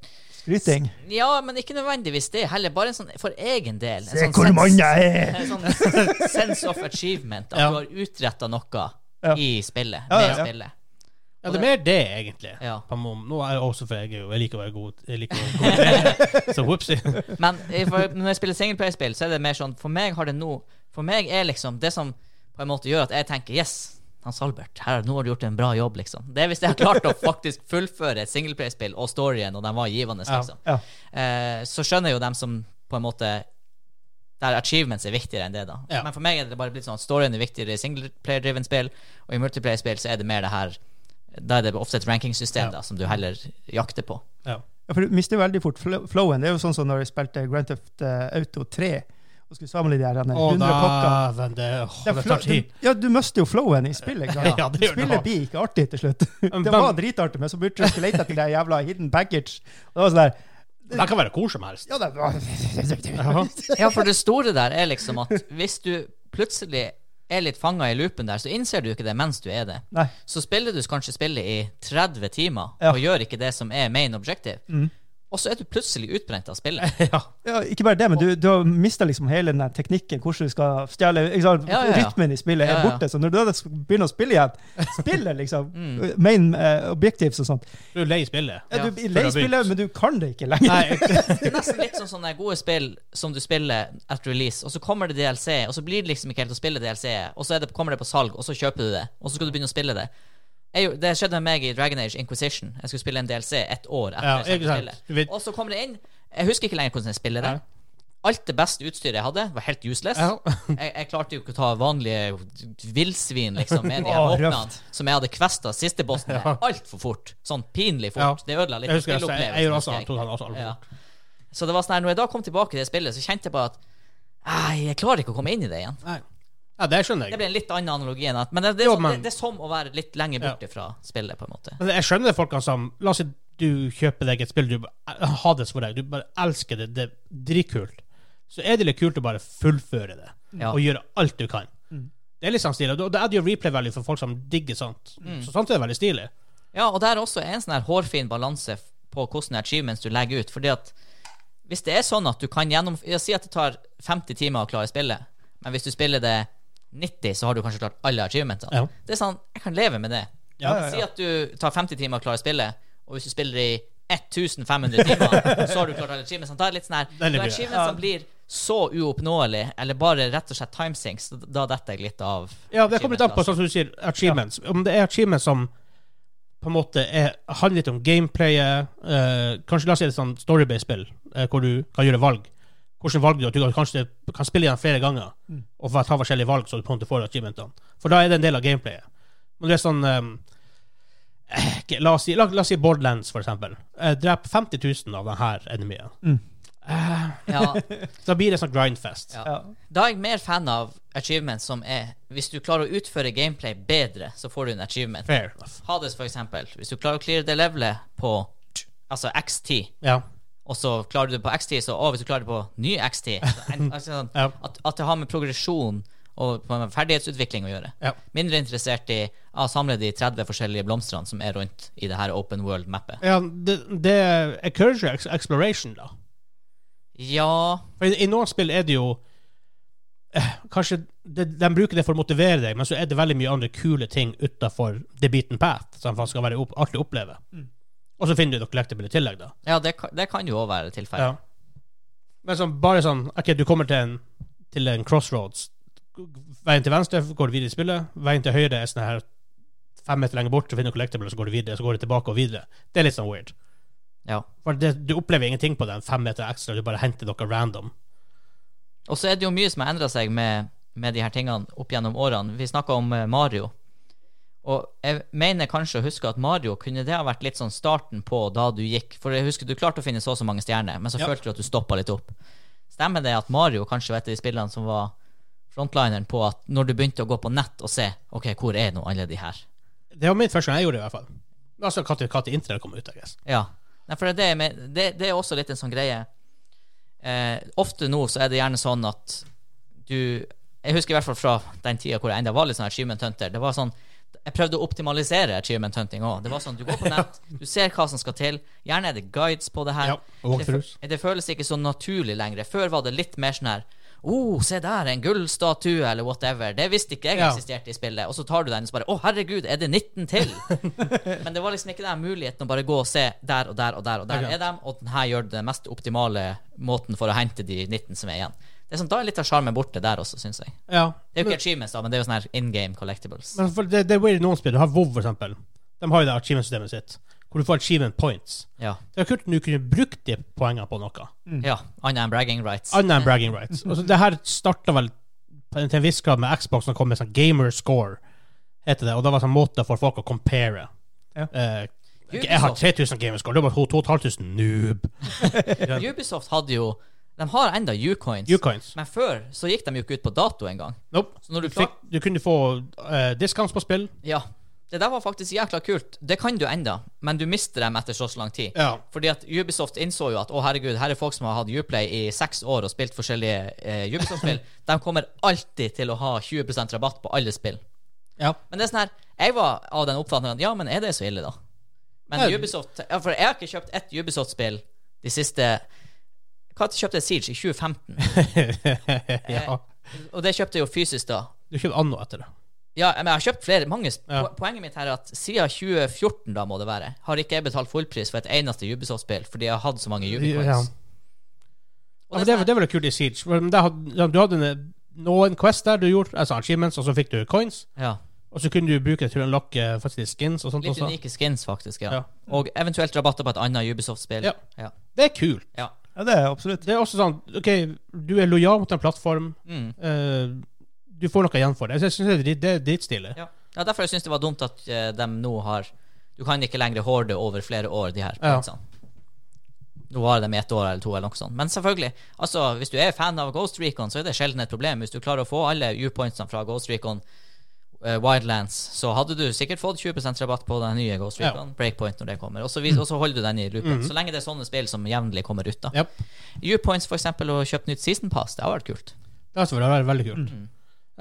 Skryting.
Ja, men ikke nødvendigvis det heller. Bare en sånn for egen del. En
Se
sånn
hvor
sens-
mann jeg er!
en sånn sense of achievement. At
Ja.
du har utretta noe
Ja.
i spillet.
Ja,
Med
ja, ja.
spillet.
Ja, det er mer det, egentlig.
Ja.
På en måte. Nå er jeg også for jeg, er jo- jeg liker å være god. Jeg liker å konkurrere. Så whoopsie.
Men eh, for, når jeg spiller singleplayerspill, så er det mer sånn For meg har det nå For meg er liksom det som på en måte gjør at jeg tenker Yes, Hans Albert, her, nå har du gjort en bra jobb, liksom. Det er hvis jeg har klart å faktisk fullføre et singleplayerspill og storyen, og den var givende,
Ja.
liksom.
Ja.
Eh, så skjønner jeg jo dem som på en måte der achievements er viktigere enn det, da.
Ja.
Men for meg er det bare blitt sånn at storyen er viktigere i singleplayer-driven spill, og i multiplayer-spill så er det mer det her Da er det ofte et rankingsystem
Ja.
da, som du heller jakter på.
Ja.
Ja, for du mister jo veldig fort fl- flowen. Det er jo sånn som når jeg spilte Grand Theft eh, Auto 3 og skulle samle de her denne
Å,
100 pakker.
dæven, det, åh,
Det, er
det
flo-
tar tid.
du- ja, du mister jo flowen i spillet. ikke sant?
Ja, det gjør du.
Spillet blir ikke artig til slutt.
Men-
Det var dritartig, men så begynte jeg å lete etter det jævla hidden package. Og det var sånn der,
Det kan være hvor som helst.
ja, det var...
Jaha.
Ja, for det store der er liksom at hvis du plutselig er litt fanga i loopen der, så innser du ikke det mens du er det.
Nei.
Så spiller du kanskje spillet i 30 timer
Ja.
og gjør ikke det som er main objective, og så er du plutselig utbrent av spillet.
Ja.
Ja, ikke bare det, men du, du har mista liksom hele den der teknikken, hvordan du skal stjele ikke sant?
Ja, ja, ja.
Rytmen i spillet
Ja,
er
ja.
borte. Så når du da begynner å spille igjen, spillet liksom,
Mm.
main eh, objectives og sånt
Du er lei i spillet.
ja,
Ja,
Du blir
før du
lei
har begynt.
spillet, men du kan det ikke lenger.
Nei,
Det er nesten litt som sånne gode spill som du spiller etter release, og så kommer det DLC, og så blir det liksom ikke helt å spille DLC, og så er det, kommer det på salg, og så kjøper du det, og så skal du begynne å spille det. Jeg, gjorde- det skjedde med meg i Dragon Age Inquisition. Jeg skulle spille en DLC et år etter
Ja,
jeg startet
ikke sant.
spillet.
Du vet-
Og så kom det inn Jeg husker ikke lenger hvordan jeg spiller det.
Nei.
Alt det beste utstyret jeg hadde, var helt useless.
Ja.
jeg, jeg klarte jo ikke å ta vanlige villsvin liksom, med de her
Åh,
våpnene
røft.
som jeg hadde kvesta siste bossen med,
Ja.
altfor fort. Sånn pinlig
Ja.
fort. Det ødela litt
Jeg husker jeg, jeg, jeg
spilleopplevelsen,
gjorde også,
husker jeg.
tok han også alvor.
Ja. Så det var sånn her, når jeg da kom tilbake til det spillet, så kjente jeg bare at Nei, jeg klarer ikke å komme inn i det igjen.
Nei. Ja, det skjønner
Det
jeg.
ble en litt annen analogi enn at Men det, det, er,
Jo,
som,
men-
det, det er som å være litt lenger borte fra spillet, på en måte.
Men Altså, jeg skjønner folkene som La oss si du kjøper deg et spill du bare- Hades for deg, du bare elsker det, det er dritkult. Så er det litt kult å bare fullføre det,
Ja. Mm.
og gjøre alt du kan. Det er litt sånn stilig. og da- Da er det jo replay value for folk som digger sånt.
Mm.
Så sånt er veldig stilig.
Ja, og der også er en sånn her hårfin balanse f- på hvordan achievements du legger ut. Fordi at hvis det er sånn at du kan gjennom ja, Si at det tar 50 timer å klare spillet, men hvis du spiller det 90, så har du kanskje klart alle achievementene.
Ja.
Det er sånn, jeg kan leve med det.
Ja,
ja, ja.
Si at du tar 50 timer å klare spillet, og hvis du spiller i 1500 timer, så har du klart alle achievementene. Da er det litt sånn her
Den er
Når
mye.
achievementene blir så uoppnåelig, eller bare rett og slett timesinks, da- da detter jeg litt av.
Ja, det kommer litt an på,
achievement, altså.
sånn som du sier, achievements. Om det er achievements som på en måte er, handler litt om gameplayet eh, Kanskje la oss si det er sånn storybase-spill, eh, hvor du kan gjøre valg. hvilke valg du har. Du kan kanskje kan spille igjen flere ganger
Mm.
og få ta forskjellige valg, så du på en måte får achievementene. For da er det en del av gameplayet. Men det er sånn um, eh, ikke- La oss si, la, la oss si Borderlands, for eksempel. Eh, Drep 50 000 av denne enemien.
Mm.
Ja,
Så da blir det sånn grindfest.
Ja.
Ja.
Da er jeg mer fan av achievements som er Hvis du klarer å utføre gameplay bedre, så får du en achievement.
Fair enough.
Hades, for eksempel. Hvis du klarer å cleare det levelet på altså X10,
Ja.
og så klarer du det på X10, så å, hvis du klarer det på ny X10 så en- altså, sånn,
Ja.
at, at det har med progresjon og på en måte ferdighetsutvikling å gjøre.
Ja.
Mindre interessert i å samle de 30 forskjellige blomstene som er rundt i det her open world-mappet.
ja det, det encourager ex- exploration, da.
Ja
For i, i noen spill er det jo eh, Kanskje de, de bruker det for å motivere deg, men så er det veldig mye andre kule ting utafor the beaten path, som faktisk skal være opp, artig å oppleve. Og så finner du noe collectible i tillegg, da.
Ja, det, kan- det kan jo òg være tilfellet.
Ja. Men sånn, bare sånn OK, du kommer til en, til en crossroads. Veien til venstre går du videre i spillet. Veien til høyre er sånn her fem meter lenger bort, så finner du collectible, så går du videre, så går du tilbake og videre. Det er litt sånn weird.
Ja.
For det, du opplever ingenting på den fem meter ekstra, du bare henter noe random.
Og så er det jo mye som har endra seg med, med de her tingene opp gjennom årene. Vi snakka om eh, Mario. Og jeg mener kanskje å huske at Mario kunne det ha vært litt sånn starten på da du gikk For jeg husker du klarte å finne så og så mange stjerner, men så
Ja.
følte du at du stoppa litt opp. Stemmer det at Mario kanskje var et av de spillene som var frontlineren på at når du begynte å gå på nett og se OK, hvor er nå alle de her?
Det var min første gang jeg gjorde det, i hvert fall. Altså når Kati Internett kom ut, I guess.
Ja. Nei, for det, er det, jeg men- det, det er også litt en sånn greie eh, Ofte nå så er det gjerne sånn at du Jeg husker i hvert fall fra den tida hvor jeg enda var litt sånn achievement hunter. Det var sånn jeg prøvde å optimalisere achievement hunting òg. Det var sånn, du går på nett, du ser hva som skal til. Gjerne er det guides på det
Ja,
her.
og
det, fø-
walkthroughs.
Eh, det føles ikke så naturlig lenger. Før var det litt mer sånn her oh, se der, en gullstatue, eller whatever. Det visste ikke jeg
Ja.
eksisterte i spillet. Og så tar du den, og så bare Å, herregud, er det 19 til? Men det var liksom ikke den muligheten å bare gå og se der og der og der, og der
Akkurat.
er dem, og den her gjør den mest optimale måten for å hente de 19 som er igjen. Det er sånn, Da er litt av sjarmen borte der også, syns jeg.
Ja.
Det er jo ikke achievements, da, men det er jo sånn her in game collectibles.
Men for det, det er weird i noen spill. Du har WoW, for eksempel. De har jo det achievement-systemet sitt, hvor du får achievement points.
Ja.
Det er kult om du kunne brukt de poengene på noe,
ja. Annet enn bragging rights.
annet enn bragging rights. Altså, det her starta vel på en- til en viss grad med Xbox, som kom med sånn gamer score, heter det. Og det var sånn måte for folk å compare.
Ja.
Eh, jeg har 3000 gamer score, du har bare 2500 noob.
Ubisoft hadde jo De har enda U-coins,
U-coins.
men før så gikk de jo ikke ut på dato engang.
Nope.
Så når
Du,
du fikk
fikk, du kunne få uh, discounts på spill.
Ja. Det der var faktisk jækla kult. Det kan du enda, men du mister dem etter så så lang tid.
Ja.
Fordi at Ubisoft innså jo at å herregud, her er folk som har hatt Uplay i seks år og spilt forskjellige eh, Ubisoft-spill. De kommer alltid til å ha 20 rabatt på alle spill.
ja.
Men det er sånn her, jeg var av den oppfatningen at ja, men er det så ille, da? Men
Nei.
Ubisoft ja, For jeg har ikke kjøpt ett Ubisoft-spill de siste Når kjøpte jeg Siege? I 2015. Eh.
ja.
Og det kjøpte jeg jo fysisk da.
Du kjøper anno etter det.
Ja, men jeg har kjøpt flere. Mange. sp-
Ja.
po- Poenget mitt her er at siden 2014, da må det være, har ikke jeg betalt fullpris for et eneste Ubisoft-spill fordi jeg har hatt så mange Ubicoins.
Ja.
Og
Ja, for
det
det,
er
var-
sånn
det var det kult i Siege. for der hadde- ja, Du hadde en- eh, noen quest der du gjorde altså achievements, og så fikk du coins.
her- ja.
Og så kunne du bruke det til å unlocke eh, faktisk skins og sånt
Litt
også.
unike skins, faktisk. Ja.
Ja.
Og eventuelt rabatter på et annet Ubisoft-spill.
Ja.
Ja.
Det er kult.
Ja.
ja, det er absolutt.
Det er også sånn OK, du er lojal mot en plattform.
Mm.
eh, du får noe igjen for det. Jeg syns det er drit- det er dritstilig.
ja. ja, derfor syns jeg det var dumt at eh, de nå har Du kan ikke lenger horde over flere år, de her
Ja.
pointsene. Nå har de ett år eller to, eller noe sånt. Men selvfølgelig, altså, hvis du er fan av Ghost Recon, så er det sjelden et problem. Hvis du klarer å få alle U-pointsene fra Ghost Recon eh, Wildlands, så hadde du sikkert fått 20 rabatt på den nye Ghost
Ja. Mhm.
Recon Breakpoint når det kommer. Og så, vis, og så holder du den i loopen. Så lenge det er sånne spill som jevnlig kommer ut, da.
Japp.
U-points, for eksempel, og kjøpt nytt season pass, det har vært kult.
Det hadde vært veldig kult.
Mm.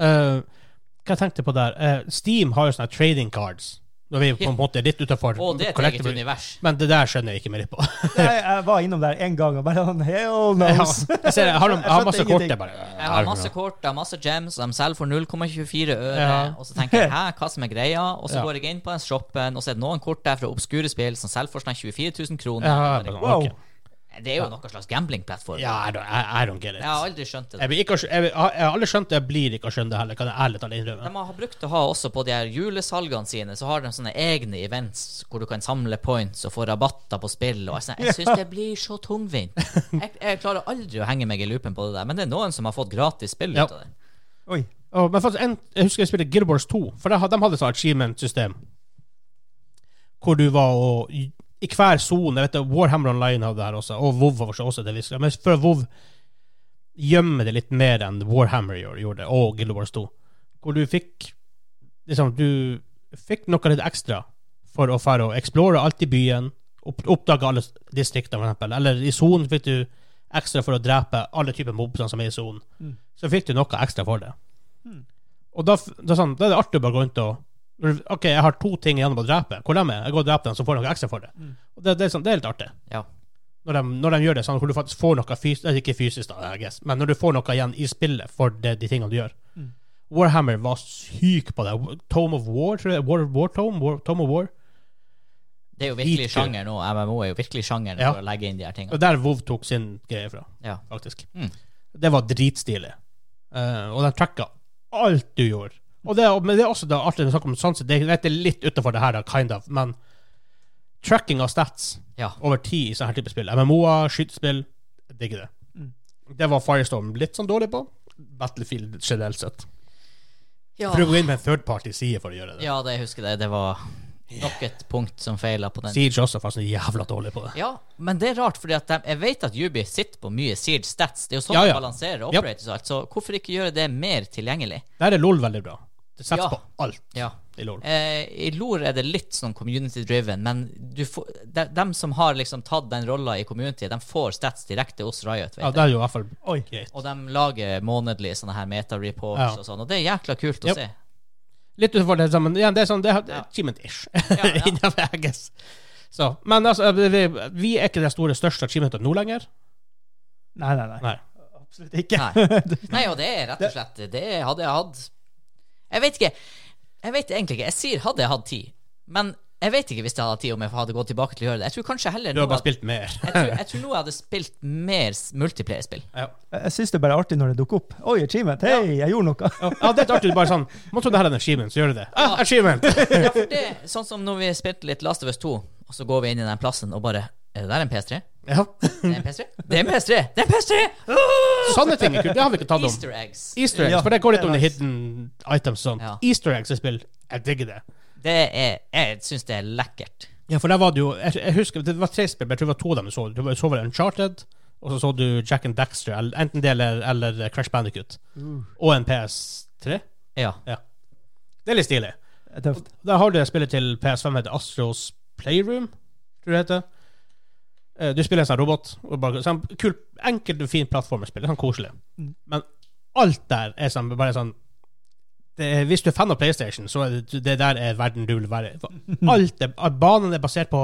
Eh, hva jeg tenkte på der Eh, Steam har jo sånne trading cards. Nå er vi på en måte litt utenfor
Og det er et eget
collectible-
univers.
Men det der skjønner jeg ikke mer på.
Jeg, jeg var innom der en gang og bare sånn Hell
Ja,
knows.
jeg, ser, jeg, har, jeg har
skjønte
masse kort.
ingenting.
Jeg bare
Jeg har masse kort, jeg har masse gems, de selger for 0,24 øre.
Ja.
Og så tenker jeg hæ, hva som er greia? Og så
Ja.
går jeg inn på den shoppen, og så er det noen kort der fra obskure spill som selger for sånn 24 000 kroner.
Ja, jeg bare sånn,
Wow.
ok.
Det er jo noen slags gamblingplattform.
Ja, I don't, I, I don't get it.
Jeg har aldri skjønt det.
Jeg, blir ikke, å skj- jeg, blir- jeg har aldri skjønt det, jeg blir ikke å skjønne det heller, kan jeg ærlig talt innrømme.
De har brukt å ha også på de her julesalgene sine, så har de sånne egne events hvor du kan samle points og få rabatter på spill. Og jeg sånn, jeg syns det blir så tungvint. Jeg, jeg klarer aldri å henge meg i loopen på det der, men det er noen som har fått gratis spill
Ja.
ut av det.
Oi.
Å, men faktisk, en, jeg husker jeg spilte Guild Wars 2, for de, had- de hadde et sånt achievement-system. Hvor du var og i, I hver sone jeg vet du, Warhammer Online hadde det her også, og WoW var også det. visste jeg. Men før WoW gjemmer det litt mer enn Warhammer gjorde, gjorde og Guild Wars 2. Hvor du fikk liksom, du fikk noe litt ekstra for å fære og explore alt i byen, opp, oppdage alle s- distriktene, for eksempel. Eller i sonen fikk du ekstra for å drepe alle typer mobsene som er i sonen.
Mm.
Så fikk du noe ekstra for det.
Mm.
Og da, f- da, er sånn, da er det artig å bare gå rundt og når du- OK, jeg har to ting igjen å drepe. Hvor de er? Jeg går og dreper dem, så får jeg noe ekstra for det.
Mm.
Og det, det, er sånn, det er litt artig.
Ja.
Når de, når de gjør det sånn hvor du faktisk får noe fysisk Ikke fysisk, da, I guess, men når du får noe igjen i spillet for det, de tingene du gjør.
Mm.
Warhammer var syk på det. Tome of War, tror jeg. War, War Tome? War, Tome of War.
Det er jo virkelig
Dritkult.
sjanger nå. MMO er jo virkelig sjangeren
Ja.
for å legge inn de her tingene.
Og der WoW tok sin greie fra,
Ja.
faktisk.
Mm.
Det var dritstilig. Eh, og de tracka alt du gjorde. Og det, men det er også da artig å snakke om sanser. Det jeg vet det er litt utenfor det her, da, kind of, men tracking av stats
Ja.
over tid i sånne her type spill. MMO-er, skytespill. Jeg digger det.
Mm.
Det var Firestorm litt sånn dårlig på. Battlefield generelt sett.
Ja.
Prøv å gå inn på en third party side for å gjøre det.
ja, det jeg husker det. Det var nok et punkt som feila på den.
Siege også var sånn jævla dårlig på det.
Ja, men det er rart, fordi at de, jeg vet at Yubi sitter på mye Siege stats. Det er jo sånn
Ja,
de
ja.
balanserer
Ja.
operators og alt, så hvorfor ikke gjøre det mer tilgjengelig?
Der er LOL veldig bra. Det setter
Ja.
på alt
Ja.
i LOL.
Eh, I LOR er det litt sånn community-driven, men du får, de, dem som har liksom tatt den rolla i community, de får stats direkte hos Riot. Vet
Ja,
jeg.
det er jo i hvert fall
Oi.
greit.
Og de lager månedlige sånne her meta-reports
Ja.
og sånn, og det er jækla kult å
Yep.
se.
Litt utenfor det sammen. Ja, det er sånn, det er det er
Ja.
achievement-ish.
Ja, ja.
Innenfor, I guess. Så, men altså, vi, vi er ikke det store, største achievementet nå lenger.
Nei, nei, nei.
Nei.
Absolutt ikke.
Nei, og det er rett og slett Det hadde jeg hatt Jeg vet ikke. Jeg vet egentlig ikke. Jeg sier hadde jeg hatt tid, men jeg vet ikke hvis jeg hadde hatt tid om jeg hadde gått tilbake til å gjøre det. Jeg tror kanskje heller
Du
nå
har bare
at-
spilt mer.
jeg tror, jeg tror nå jeg hadde spilt mer s- multiplayer-spill.
Ja.
Jeg syns det er bare artig når det dukker opp. Oi, achievement! Hei, jeg gjorde noe!
ja, det er artig. Bare sånn Man tror det her er en achievement, så gjør du det. Ah, achievement!
Ja, for det, sånn som når vi spilte litt Last of Us 2, og så går vi inn i den plassen og bare Er det der en PS3?
Ja.
Det er en PS3? Det er en PS3! Det er en PS3! Åh!
Sånne ting er kult. Det har vi ikke tatt om.
Easter eggs.
Easter eggs,
Ja,
for det går litt
det er
under
nice.
hidden items og sånt.
Ja.
Easter eggs i spill, jeg digger det.
Det er Jeg syns det er lekkert.
Ja, for der var det jo Jeg, jeg husker det var tre spill, men jeg tror det var to av dem du så. Du så vel Uncharted, og så så du Jack and Daxter, eller, enten det eller, eller Crash Bandicut. Og en PS3.
Ja.
Det er litt stilig.
Det er tøft.
Der har du et spill til PS5 heter Astros Playroom, tror jeg det heter. Eh, Du spiller en sånn robot. Og bare, sånn, kul, enkelt og fint plattformerspill. Sånn koselig.
Mm.
Men alt der er sånn, bare sånn det er, Hvis du er fan av PlayStation, så er det, det der er verden du vil være i. For Alt er, at banen er basert på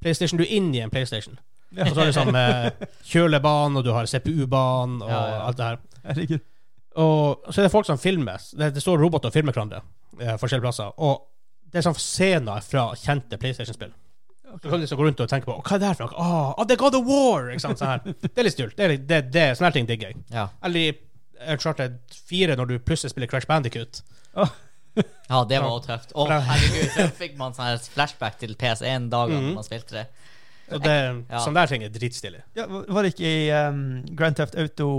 PlayStation. Du er inne i en PlayStation.
Ja.
Og så er det sånn eh, kjølebanen, og du har CPU-banen, og
Ja, ja.
alt det her.
Herregud.
Og så er det folk som filmer. Det, det står roboter og filmer hverandre eh, forskjellige plasser. Og det er sånn scener fra kjente PlayStation-spill. Så kan du liksom gå rundt og tenke på Hva er det her for noe? Ah, ah, det er God of War! Ikke sant? Sånn her. Det er litt stult. Det er, litt- det, det, sånne her ting digger jeg.
Ja,
Eller i Uncharted 4, når du plutselig spiller Crash Bandicut.
ja det var også tøft. Å, herregud, så fikk man sånn her flashback til PS1-dagene
Mhm.
man spilte det.
Og det,
Ja.
Sånne der ting er dritstilig.
Ja, var det ikke i um, Grand Theft Auto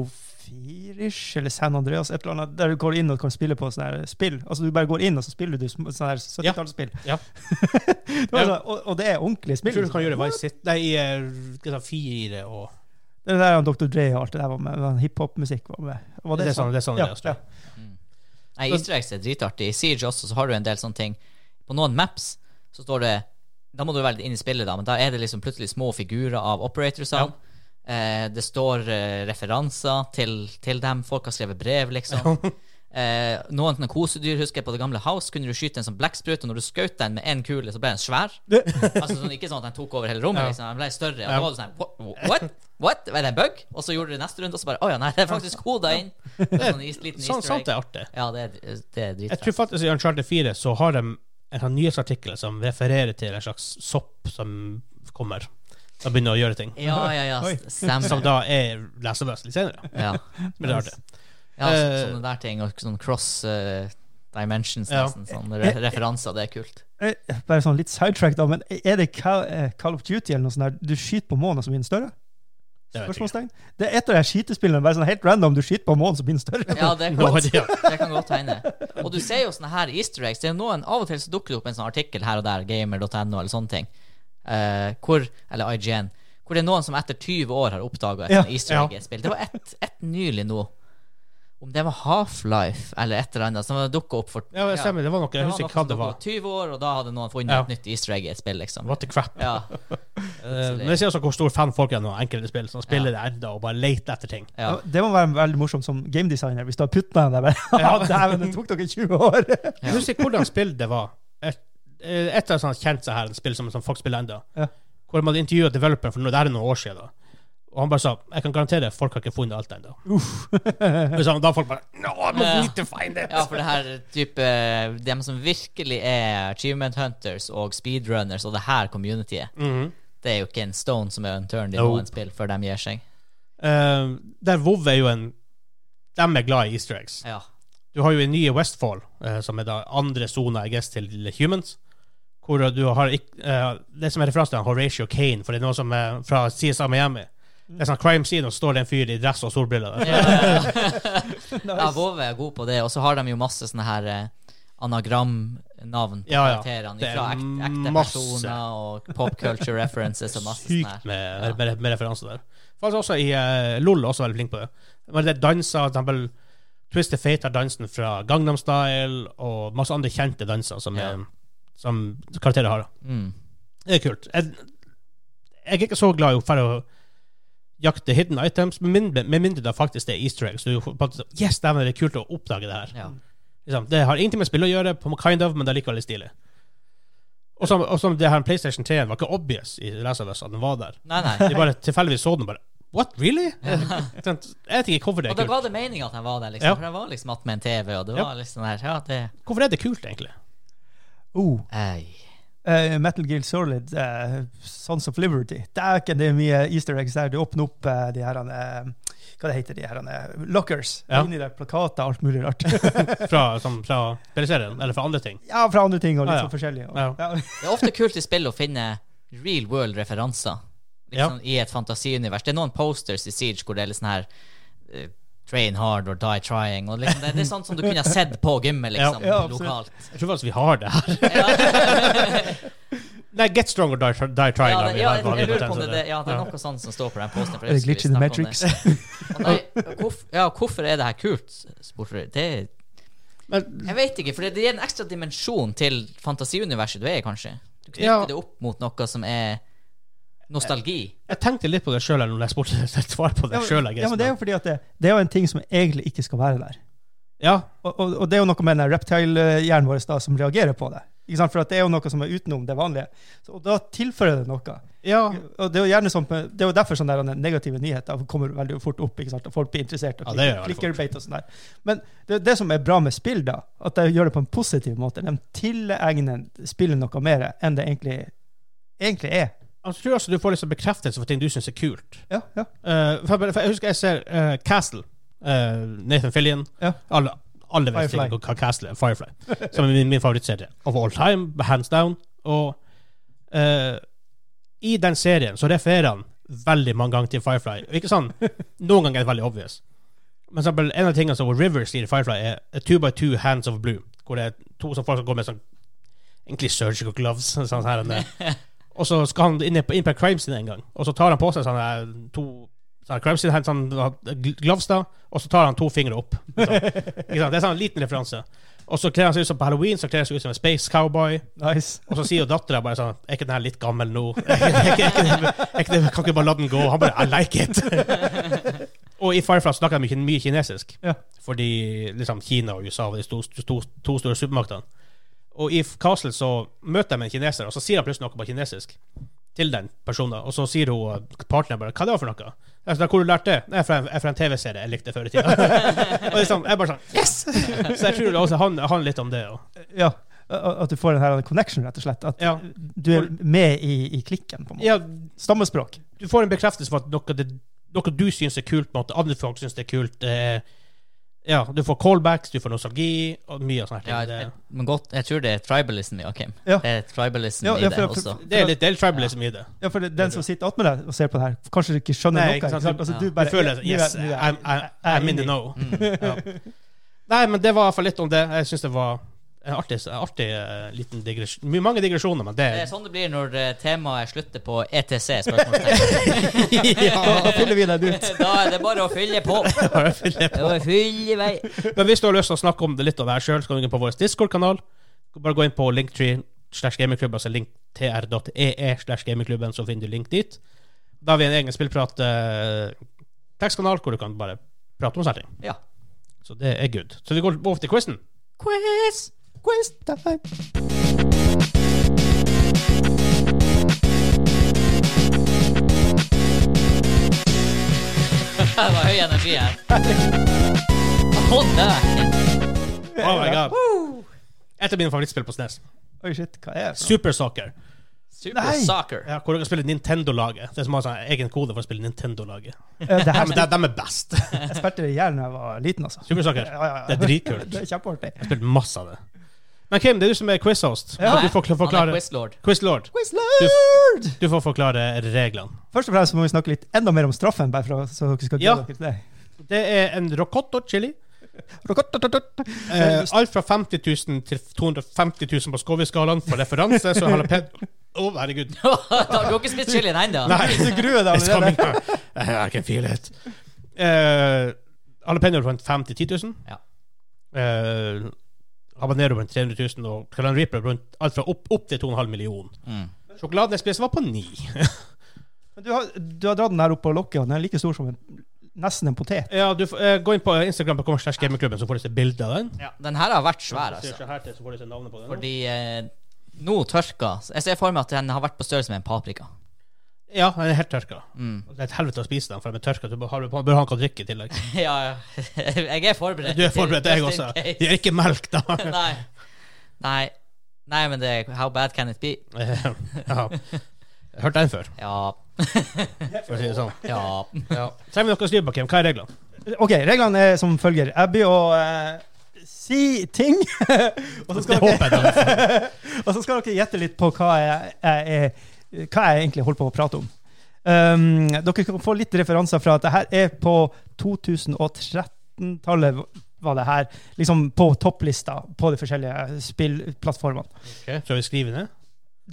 4-ish, eller San Andreas, et eller annet, der du går inn og kan spille på sånne her spill? Altså, du bare går inn, og så spiller du sm- sånne her 70-tallsspill.
Ja.
Det var
Ja.
sånn, og, og det er ordentlige
Jeg
spill.
tror du kan gjøre Vice City Nei, i uh, 4 og
Det der han Dr. Dre og alt det der var med, den hiphop-musikk var med. Var
Det er sånn- det er sånn
ja,
det er,
ja.
Nei, Easter eggs er dritartig. I Siege også så har du en del sånne ting. På noen maps så står det Da må du velge inn i spillet, da, men da er det liksom plutselig små figurer av operatorsene. Eh, det står eh, referanser til, til dem. Folk har skrevet brev, liksom. Eh, noen sånne kosedyr husker jeg på det gamle House. Kunne du skyte en sånn blekksprut, og når du skjøt den med én kule, så ble den svær. altså sånn, Ikke sånn at den tok over hele rommet,
Ja.
liksom. Den ble større. Og
Ja.
da var du sånn "Wha- What? What? Var det en bug? Og så gjorde du det neste runde, og så bare Å ja, nei, det er faktisk koda inn. Det er Sånn, is- liten
Sånn,
easter egg.
sånt er artig.
Ja, det er, det er
Jeg
dritfett.
tror faktisk i Uncharted 4 så har de en sånn nyhetsartikkel som refererer til en slags sopp som kommer. Da begynner jeg å gjøre ting.
Ja, ja, ja.
Oi.
Som
Stemmer.
da er lesebøss litt senere.
Ja.
Men det er artig.
Ja, så,
Eh,
sånne der ting, og sånn cross eh, dimensions,
Ja.
nesten. Sånne re referanser, det er kult.
Eh, Bare sånn litt sidetrack, da, men er det Call, eh, Call of Duty eller noe sånt der? Du skyter på månen, som blir den større?
Det vet jeg ikke.
Spørsmålstegn. Det er et av de her skytespillene. Bare sånn helt random. Du skyter på månen, så blir den større.
Ja, det
No
kan,
idea.
det kan godt hende. Og du ser jo sånne her easter eggs. Det er noen, Av og til så dukker det opp en sånn artikkel her og der, gamer.no eller sånne ting, eh, hvor, eller IGN, hvor det er noen som etter 20 år har oppdaga et
Ja,
sånt easter egg i et spill. Det var ett et nylig nå, om det var Half-Life eller et eller annet, som dukka opp for
Ja, det stemmer. Det var noe. Jeg husker ikke hva det var.
20 år, og da hadde noen funnet
Ja.
et nytt easter egg i et spill, liksom.
What the crap.
Ja,
Eh, Men det sier også hvor stor fan folk er av enkelte spill som spiller det enda og bare leter etter ting.
ja.
Det må være veldig morsomt som gamedesigner, hvis du har putta den der. bare, Ja, dæven, det tok dere 20 år!
Jeg husker ikke hvordan spill det var. Et, eh, et av sånne kjente seg her, et spill som, som folk spiller enda.
Ja.
Hvor man hadde intervjuet developeren for noe, det her er noen år siden. da. Og han bare sa jeg kan garantere folk har ikke funnet alt ennå. da folk bare No, I
Ja.
need to find it!
Ja, for det her type Dem som virkelig er achievement hunters og speedrunners og det her communityet,
Mhm.
det er jo ikke en stone som er unturned i
Nope.
noen spill før de gir seg.
Eh, der WoW er jo en De er glad i easter eggs.
Ja.
Du har jo i nye Westfall, eh, som er da andre sona I guess, til humans, hvor du har ikk- eh, Det som er referansen, til han Horatio Kane, for det er noe som er fra CSA Miami. Det er sånn crime scene, og så står det en fyr i dress og solbriller der.
Mm. Ja, ja, Vove er god på det, og så har de jo masse sånne her eh, anagramnavn på
Ja, ja.
karakterene
Det er
fra ekte, ekte
masse.
personer og pop culture references og masse sånn
Sykt
her.
med, med, med referanser der. Faktisk også i eh, LOL er også veldig flink på det. Men det er danser, for eksempel Twisted Fate har dansen fra Gangnam Style, og masse andre kjente danser som,
Ja.
er, som karakterer har. da.
Mm.
Det er kult. Jeg, jeg er ikke så glad i å fære å jakte hidden items, med mindre, med mindre det faktisk det er easter eggs. Du får faktisk sånn, yes, dæven, det er kult å oppdage det her.
Ja.
Liksom, det har ingenting med spill å gjøre, på kind of, men det er likevel litt stilig. Og som, og som det her PlayStation 3 var ikke obvious i Lesavøs at den var der.
Nei, nei.
De bare tilfeldigvis så den bare What, really? Sånn, Jeg vet ikke hvorfor det
Og
er
da
kult.
ga det mening at han var der, liksom.
Ja.
For han var liksom attmed en TV, og det
Ja.
var liksom her Ja, det
Hvorfor er det kult, egentlig?
Oh,
Ei.
eh, Metal Gear Solid, eh, Sons of Liberty. Dæken, det er mye easter eggs der. Du åpner opp eh, de her eh, Hva det heter de her eh, Lockers.
Ja.
Inni der plakater, alt mulig rart.
Fra, som, fra spilleserien, eller fra andre ting?
Ja, fra andre ting og litt
Ah, Ja, ja.
sånn forskjellig. Og,
Ja.
ja.
Det er ofte kult i spill å finne real world-referanser liksom, i et fantasiunivers. Det er noen posters i Siege hvor det er litt sånn her eh, Train hard or die trying. Og liksom, det, det er sånt som du kunne ha sett på gymmet, liksom,
Ja, ja, absolutt.
lokalt.
Jeg tror faktisk vi har det her. Nei, Get Strong or Die, die Trying.
Ja,
har
det,
vi-
ja,
har vi
jeg, jeg
på
lurer på om det,
den,
det, ja, det er
ja.
noe sånt som står på den posten. for
Er det
jeg
glitch in
husker
the
vi
Matrix?
snakket om det. Å Nei, hvorf, ja, hvorfor er det her kult, spurte du. Det
Men-
Jeg vet ikke, for det gir en ekstra dimensjon til fantasiuniverset du er i, kanskje. Du knytter
Ja.
det opp mot noe som er nostalgi.
Jeg tenkte litt på det sjøl når jeg spurte et svar på det
Ja, men-
sjøl.
ja, men det er jo fordi at det, det er jo en ting som egentlig ikke skal være der.
ja,
Og, og, og det er jo noe med den reptile-hjernen vår da, som reagerer på det. Ikke sant? For at det er jo noe som er utenom det vanlige. Så, og da tilfører det noe.
ja,
Og det er jo gjerne sånn, det er jo derfor sånne der negative nyheter kommer veldig fort opp. ikke sant? Og folk blir interessert og
Ja, det gjør
klikker,
det
klikker beit og sånn der. Men det, det som er bra med spill, da, at de gjør det på en positiv måte. De tilegner spillet noe mer enn det egentlig, egentlig er.
Jeg tror også du får liksom bekreftelse for ting du syns er kult.
Ja, ja.
Eh, for, jeg- for Jeg husker jeg ser eh, Castle. eh, Nathan Fillion.
Ja.
Alle, alle vet
Firefly.
sikkert hva Castle er. Firefly. Som er min, min favorittserie of all time, hands down. Og eh, i den serien så refererer han veldig mange ganger til Firefly. Ikke sånn, Noen ganger er det veldig obvious. Men for eksempel, en av tingene som Rivers sier i Firefly, er a two by two hands of blue. Hvor det er to som folk som går med sånn egentlig surgical gloves. Sånn her og der. Og så skal han inn på, inn på crime scene en gang, og så tar han på seg sånne her to sånne crime scene, sånn gl- gloves, da, og så tar han to fingre opp. Sånn. Ikke sant? Det er sånn en liten referanse. Og så kler han seg ut som på halloween, så kler han seg ut som en space cowboy.
Nice.
Og så sier jo dattera bare sånn Er ikke den her litt gammel nå? Er ikke, er ikke, er ikke, er ikke, kan ikke bare la den gå? Han bare I like it. og i Firefly snakker de mye, mye kinesisk,
Ja.
fordi liksom Kina og USA var de to, to, to store supermaktene. Og i Castle så møter de en kineser, og så sier han plutselig noe på kinesisk til den personen, og så sier hun eh, partneren bare 'Hva er det var for noe?' Jeg sa, 'Hvor har du lært det?' 'Nei, fra en, fra en TV-serie jeg likte før i tida'. og liksom, jeg bare sånn Yes! så jeg tror også han han handler litt om det. Og.
Ja. At du får den her connection, rett og slett. At
Ja.
du er med i, i klikken, på en måte.
Ja,
Stammespråk.
du får en bekreftelse for at noe, det, noe du syns er kult, med at andre folk syns det er kult. Eh, ja, du får callbacks, du får nostalgi, og mye av sånne
Ja,
ting.
jeg, men godt, jeg tror det er tribalism, Joakim.
Ja.
Det er tribalism
Ja,
i
ja,
det
for- for-
også.
det, det er litt del tribalism i det.
Ja, for det- den som sitter attmed deg og ser på det her, kanskje ikke skjønner
Nei,
noe.
ikke sant?
Ikke sant? Altså,
Ja.
du
Du
bare
føler
nå er-
Yes,
nå er-
I'm, I'm, I'm in the know.
Mm.
Ja. Nei, men det var i hvert fall litt om det. Jeg syns det var en artig, en artig eh, liten digresjon. My- Mange digresjoner, men det
Det er sånn det blir når eh, temaet slutter på ETC. spørsmålstegn.
Ja, da fyller vi den ut.
da er det bare å fylle på. Å fylle i vei.
Men hvis du har lyst til å snakke om det litt av det her sjøl, skal du gå inn på vår Discord-kanal. Bare gå inn på linktree slash gamingklubben, altså linktr.ee slash gamingklubben, så finner du link dit. Da har vi en egen spillprat-tekstkanal hvor du kan bare prate om sånne ting.
Ja.
Så det er good. Så vi går over til quizen.
Quiz!
Quiz time.
Det var høy energi her. Å, dæken.
Oh my god. Et av mine favorittspill på SNES.
Oi, shit, hva er det? for noe?
Super Soccer.
Super
Nei.
soccer.
Ja, hvor du kan spille Nintendo-laget. Det er som har sånn egen kode for å spille Nintendo-laget.
Ja, Det
Ja,
her
men de, de er best.
jeg spilte jeg i hjel da jeg var liten, altså.
Super Soccer.
Ja, ja, ja.
Det er dritkult.
Det er kjempeartig.
Jeg spilte masse av det. Men Kim, det er du som er quiz-host.
Ja.
Så du får kl-
Han er
forklare
quizlord.
Quiz-lord.
Quizlord!
Du får forklare reglene.
Først og fremst må vi snakke litt enda mer om straffen, bare for å, så dere skal
Ja.
glede dere til det.
Det er en rocotto chili.
Rokottotottot.
Eh, alt fra 50 000 til 250 000 på Skowie-skalaen. For referanse så er jalapeño Å, herregud.
Du har ikke spist chilien ennå?
Nei.
Du gruer deg
It's coming.
allerede.
I can feel it. Eh, Jalapeño er rundt 5 000-10 000.
Ja.
Eh, Habanero rundt 300 000, og Calan Reaper rundt alt fra opp, opp til 2,5 millioner.
Mm.
Sjokoladen jeg spiste, var på 9.
Men du har, du har dratt den her opp på lokket, og den er like stor som en, nesten en potet.
Ja, du, får- eh, gå inn på Instagram, på slash gamingklubben, så får du se bilde av den.
Ja, den her har vært
Ser
svær, altså.
ikke her til, så får du se navnet på den.
Fordi eh, nå tørka så Jeg ser for meg at den har vært på størrelse med en paprika.
Ja, den er helt tørka.
Mm.
Det er et helvete å spise den, for den er tørka. Du bør ha, bør ha noe å drikke i tillegg.
Ja, ja. Jeg er forberedt.
Du er forberedt, jeg
Just in
også.
case.
Det er ikke melk, da.
Nei. Nei. Nei, men det er How bad can it be?
Eh, ja. Hørt den før,
Ja.
for å si det sånn.
Ja.
Ja. Trenger vi noe å skrive bak, Kim? Hva er reglene?
OK, reglene er som følger. Jeg blir å eh, si ting, og, så
Det
skal dere,
håper jeg da.
og så skal dere gjette litt på hva jeg, jeg, er- hva jeg egentlig holder på å prate om. Um, dere kan få litt referanser fra at det her er på 2013-tallet var det her, liksom på topplista på de forskjellige spillplattformene.
Ok, så vi skriver ned.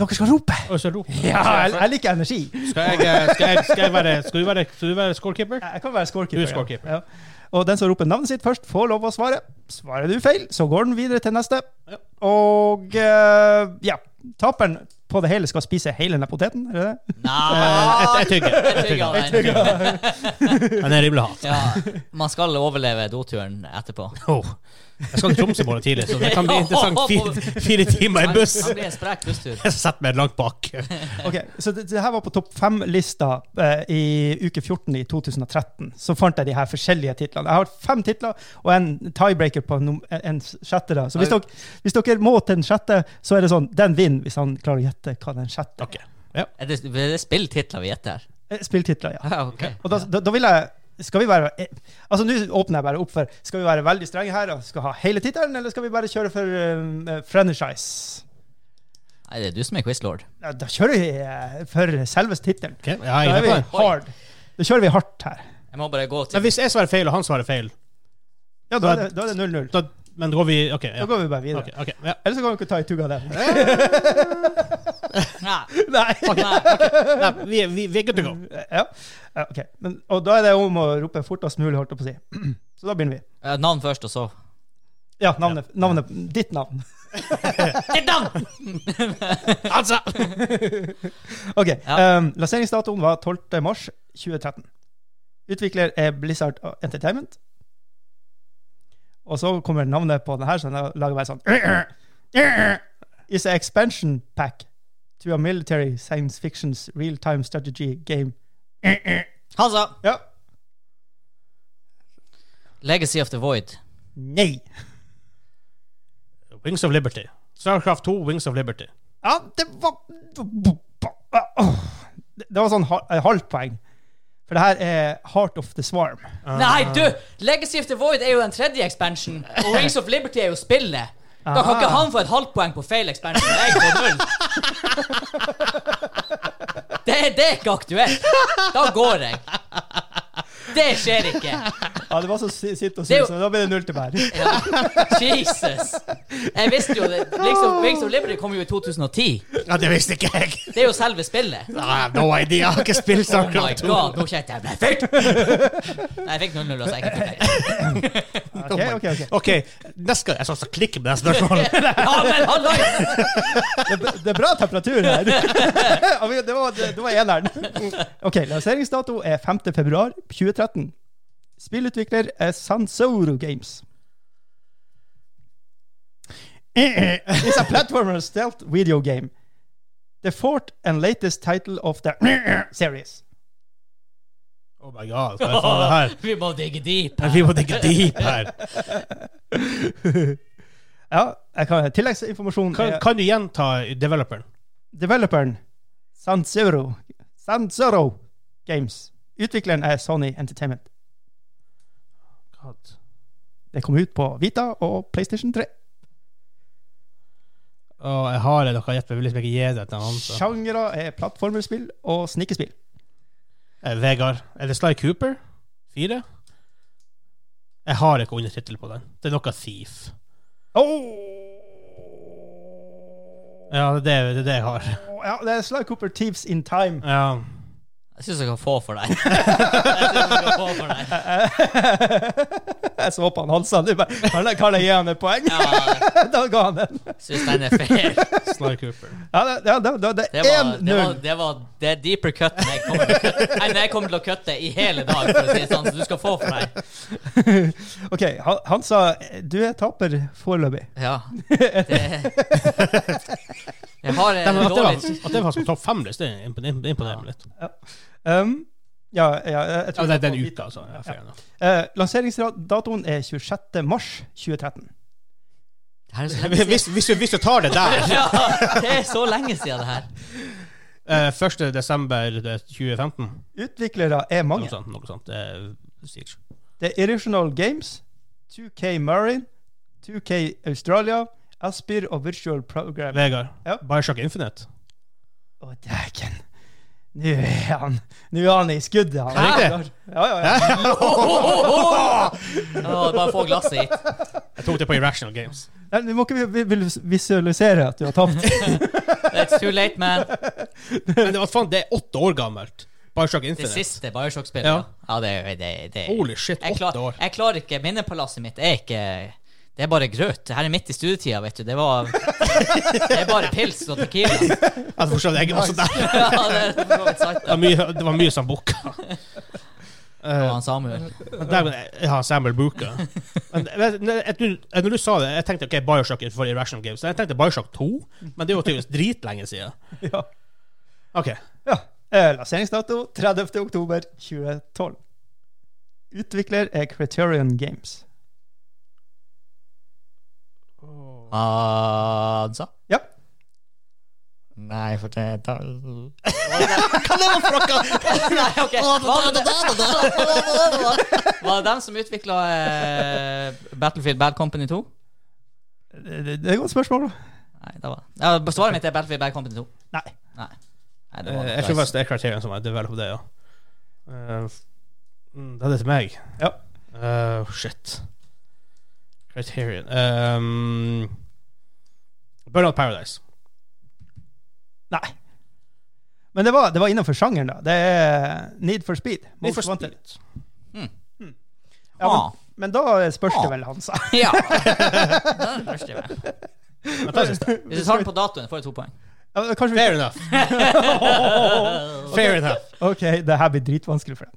Dere skal rope!
Oi, så rop.
Ja, jeg, jeg liker energi.
Skal jeg, eh, skal jeg, skal jeg være, skal du være, skal du være scorekeeper?
Jeg kan være scorekeeper.
Du er scorekeeper.
Ja. Ja. Og den som roper navnet sitt først, får lov å svare. Svarer du feil, så går den videre til neste.
Ja.
Og eh, ja, taperen på det hele skal spise hele denne poteten. Er det det?
Eh,
Nei.
jeg- jeg tygger.
Jeg tygger den.
Han er rimelig hat.
Ja. Man skal overleve doturen etterpå.
Åh. Oh. Jeg skal til Tromsø i morgen tidlig, så det kan bli interessant. Fire, fire timer i
Han,
buss.
han blir en sprek busstur.
Jeg setter meg langt bak.
Ok, Så det, det her var på topp fem-lista eh, i uke 14 i 2013. Så fant jeg de her forskjellige titlene. Jeg har fem titler og en tiebreaker på num- en sjette. da. Så hvis dere, hvis dere må til den sjette, så er det sånn, den vinner hvis han klarer å gjette hva den sjette
Ok.
Er det, er det spilltitler vi gjetter her?
er. Spilltitler, ja.
Ja, ok.
Og da, da, da vil jeg Skal vi være Altså nå åpner jeg bare opp for Skal vi være veldig strenge her og skal ha hele tittelen, eller skal vi bare kjøre for um, eh, franchise?
Nei, det er du som er quizlord.
Ja, da kjører vi eh, for selveste tittelen.
Ok, ja, jeg
Da
er
er vi
med på det.
hard. Da kjører vi hardt her.
Jeg må bare gå
Men
til
hvis jeg svarer feil, og han svarer feil,
Ja, da er det- da er det 0-0.
da, men går vi OK. Ja.
Da går vi bare videre.
Ok, ok, ja.
Eller så kan vi ikke ta i tugg av den.
Nei.
Nei.
Nei.
Nei, vi, vi, vi er good to go.
Ja. Ja, ok. Men, og da er det om å rope fortest mulig, holdt jeg på å si. Så da begynner vi.
Eh, Navn først, og så
Ja, navnet, navnet Ditt navn.
Ditt navn!
Altså!
OK.
Ja.
Um, lanseringsdatoen var 12. mars 2013. Utvikler er Blizzard Entertainment. Og så kommer navnet på den her, så den lager bare sånn Is an expansion pack to a military science fictions real-time strategy game.
Han sa
Ja.
Legacy of the Void.
Nei.
Wings of Liberty. Starcraft 2, Wings of Liberty.
Ja, det var Det det var sånn hal- eh, halvt poeng. For det her er Heart of the Swarm.
Nei, du! Legacy of the Void er jo den tredje expansion, og Wings of Liberty er jo spillet. Da kan ikke han få et halvt poeng på feil expansion. og Jeg får null. Det, det er ikke aktuelt. Da går jeg. Det skjer ikke.
Ja, det var så si- sitt og
Det er jo-
sur, så da ble det null til hver.
Ja. Jesus. Jeg visste jo det. Liksom, Wings of Liberty kom jo i 2010.
Ja, det visste ikke jeg!
Det er jo selve spillet.
Nei, no idea. Jeg har ikke spilt
Oh my
Starcraft 2.
god, nå kjente jeg meg fyrt! Nei, jeg fikk 0-0, altså. Jeg ikke fikk det.
Ok, ok, ok.
OK, neste gang jeg satser klikk på det spørsmålet.
Ja, men hallois!
Det, er- det er bra temperatur her. Ja, men Det var, det, det var eneren. Ok, lanseringsdato er 5. februar 2013. Spillutvikler er Sansoro Games. It's a platformer stealth video game. The fourth and latest title of the series.
Oh my god, hva er faen det her?
Vi må digge deep.
Men Vi må tenke deep her.
Ja, jeg kan tilleggsinformasjon.
Kan,
er-
kan du gjenta developeren?
Developeren Sansoro Sansoro Games. Utvikleren er Sony Entertainment.
God.
Det kom ut på Vita og PlayStation 3.
Å, jeg har det, dere har gjett meg. Jeg vil liksom ikke gi det til han. så.
Sjangere er plattformerspill og snikespill.
Eh, Vegard. Er det Sly Cooper? Fire? Jeg har ikke undertittel på den. Det er noe Thief.
Oh!
Ja, det er det, er det jeg har.
Ja, det er Sly Cooper Thieves in Time.
Ja.
Jeg syns jeg kan få for deg. Jeg synes jeg kan få for deg.
jeg så på han Hansa. Du bare Kan jeg, kan jeg gi han et poeng?
Ja,
da ga han den.
syns den er fair.
Sly Cooper.
Ja, det, ja, det, det, det
Det
er
var, det var,
1-0.
det var det er deeper cut enn jeg kommer til å kutte. Nei, men jeg kommer til å kutte i hele dag, for å si det sånn, så du skal få for deg.
OK, Han- Hansa, du er taper foreløpig.
Ja. Det Jeg har
Nei,
en
men at det var,
dårlig
at det var som topp fem-liste, imponerer meg litt.
Um, ja, ja, jeg, jeg
Ja,
tror
det er den uka, altså. Ja, fair enough.
Eh, lanseringsdatoen er 26. mars 2013.
Det her er så lenge
Hvis, hvis, du- hvis du tar det der
siden. Ja, det er så lenge siden det her.
eh, 1. desember 2015,
Utviklere er mange.
noe sånt. Noe sånt. Det er Siege.
Det er Irrational Games, 2K Marine, 2K Australia, Aspyr og Virtual Program.
Vegard,
Ja.
Bioshock Infinite.
Å, dæken. Nå er han Nå er han i skuddet, han.
Er det riktig?
Ja, ja, ja.
Å, bare få glasset hit.
Jeg tok det på Irrational Games.
Nei, Du må ikke vi- vi- visualisere at du har tapt.
It's too late, man.
Men det, var, faen, det er åtte år gammelt. Bioshock
Det
Infinite.
siste Bioshock-spillet.
Ja.
Ja. ja, det er det, det.
Holy shit,
jeg,
åtte
klar,
år.
jeg klarer ikke Minnepalasset mitt er ikke Det er bare grøt. Det her er midt i studietida, vet du. Det var Det er bare pils og tequila.
Jeg forstår det, jeg er også der.
Ja, det er for så vidt sant.
Det var mye, det var mye som booka.
Og han Samuel.
Ja, Samuel Booka. Men det- men jeg tror- jeg- Når du sa det, jeg tenkte ok, Bioshock for Irrational Games. Jeg tenkte Bioshock 2, men det er jo tydeligvis dritlenge siden.
Ja.
Ok.
ja. Eh, Lanseringsdato 30. oktober 2012. Utvikler er Criterion Games.
Han sa
Ja.
Nei, for det er
Hva det var for noe?
Nei, ok. Var det Var det dem som utvikla eh, Battlefield Bad Company 2?
Det, det, det er et godt spørsmål.
Nei, det var ja, Svaret mitt er Battlefield Bad Company 2.
Nei.
Nei. Nei det var
Eh, Jeg tror faktisk det er kriteriene som er developed, det, ja. Eh, mm, Det er det til meg.
Ja.
Eh, shit. Criterion um, Burnout Paradise.
Nei. Men det var, det var innenfor sjangeren, da. Det er Need for Speed.
Need for
Most Wanted. Hmm.
Speed. Hmm.
Ja,
Ah.
men, men da spørs
Ah.
det vel, Hansa.
Ja. Den første jeg med.
Jeg tar siste.
Hvis du tar den på datoen, får du to poeng.
Ja, men kanskje vi
Fair enough. Fair enough.
OK, det her blir dritvanskelig for dem.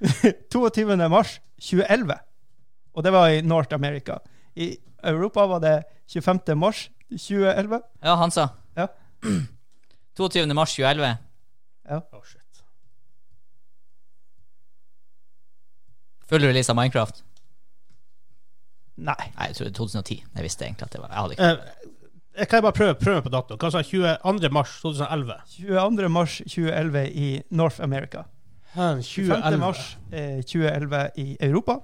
22. mars 2011, og det var i North America. I Europa var det 25. mars 2011.
Ja, Hansa.
Ja.
22. mars 2011.
Oh, shit.
Full release av Minecraft.
Nei.
Nei, jeg tror det er 2010. Jeg visste egentlig at det var Jeg hadde ikke
Eh, Jeg kan bare prøve, prøve på datoen. Hva sa jeg? 22. mars 2011?
22. mars 2011 i North America. 25. mars eh, 2011 i Europa.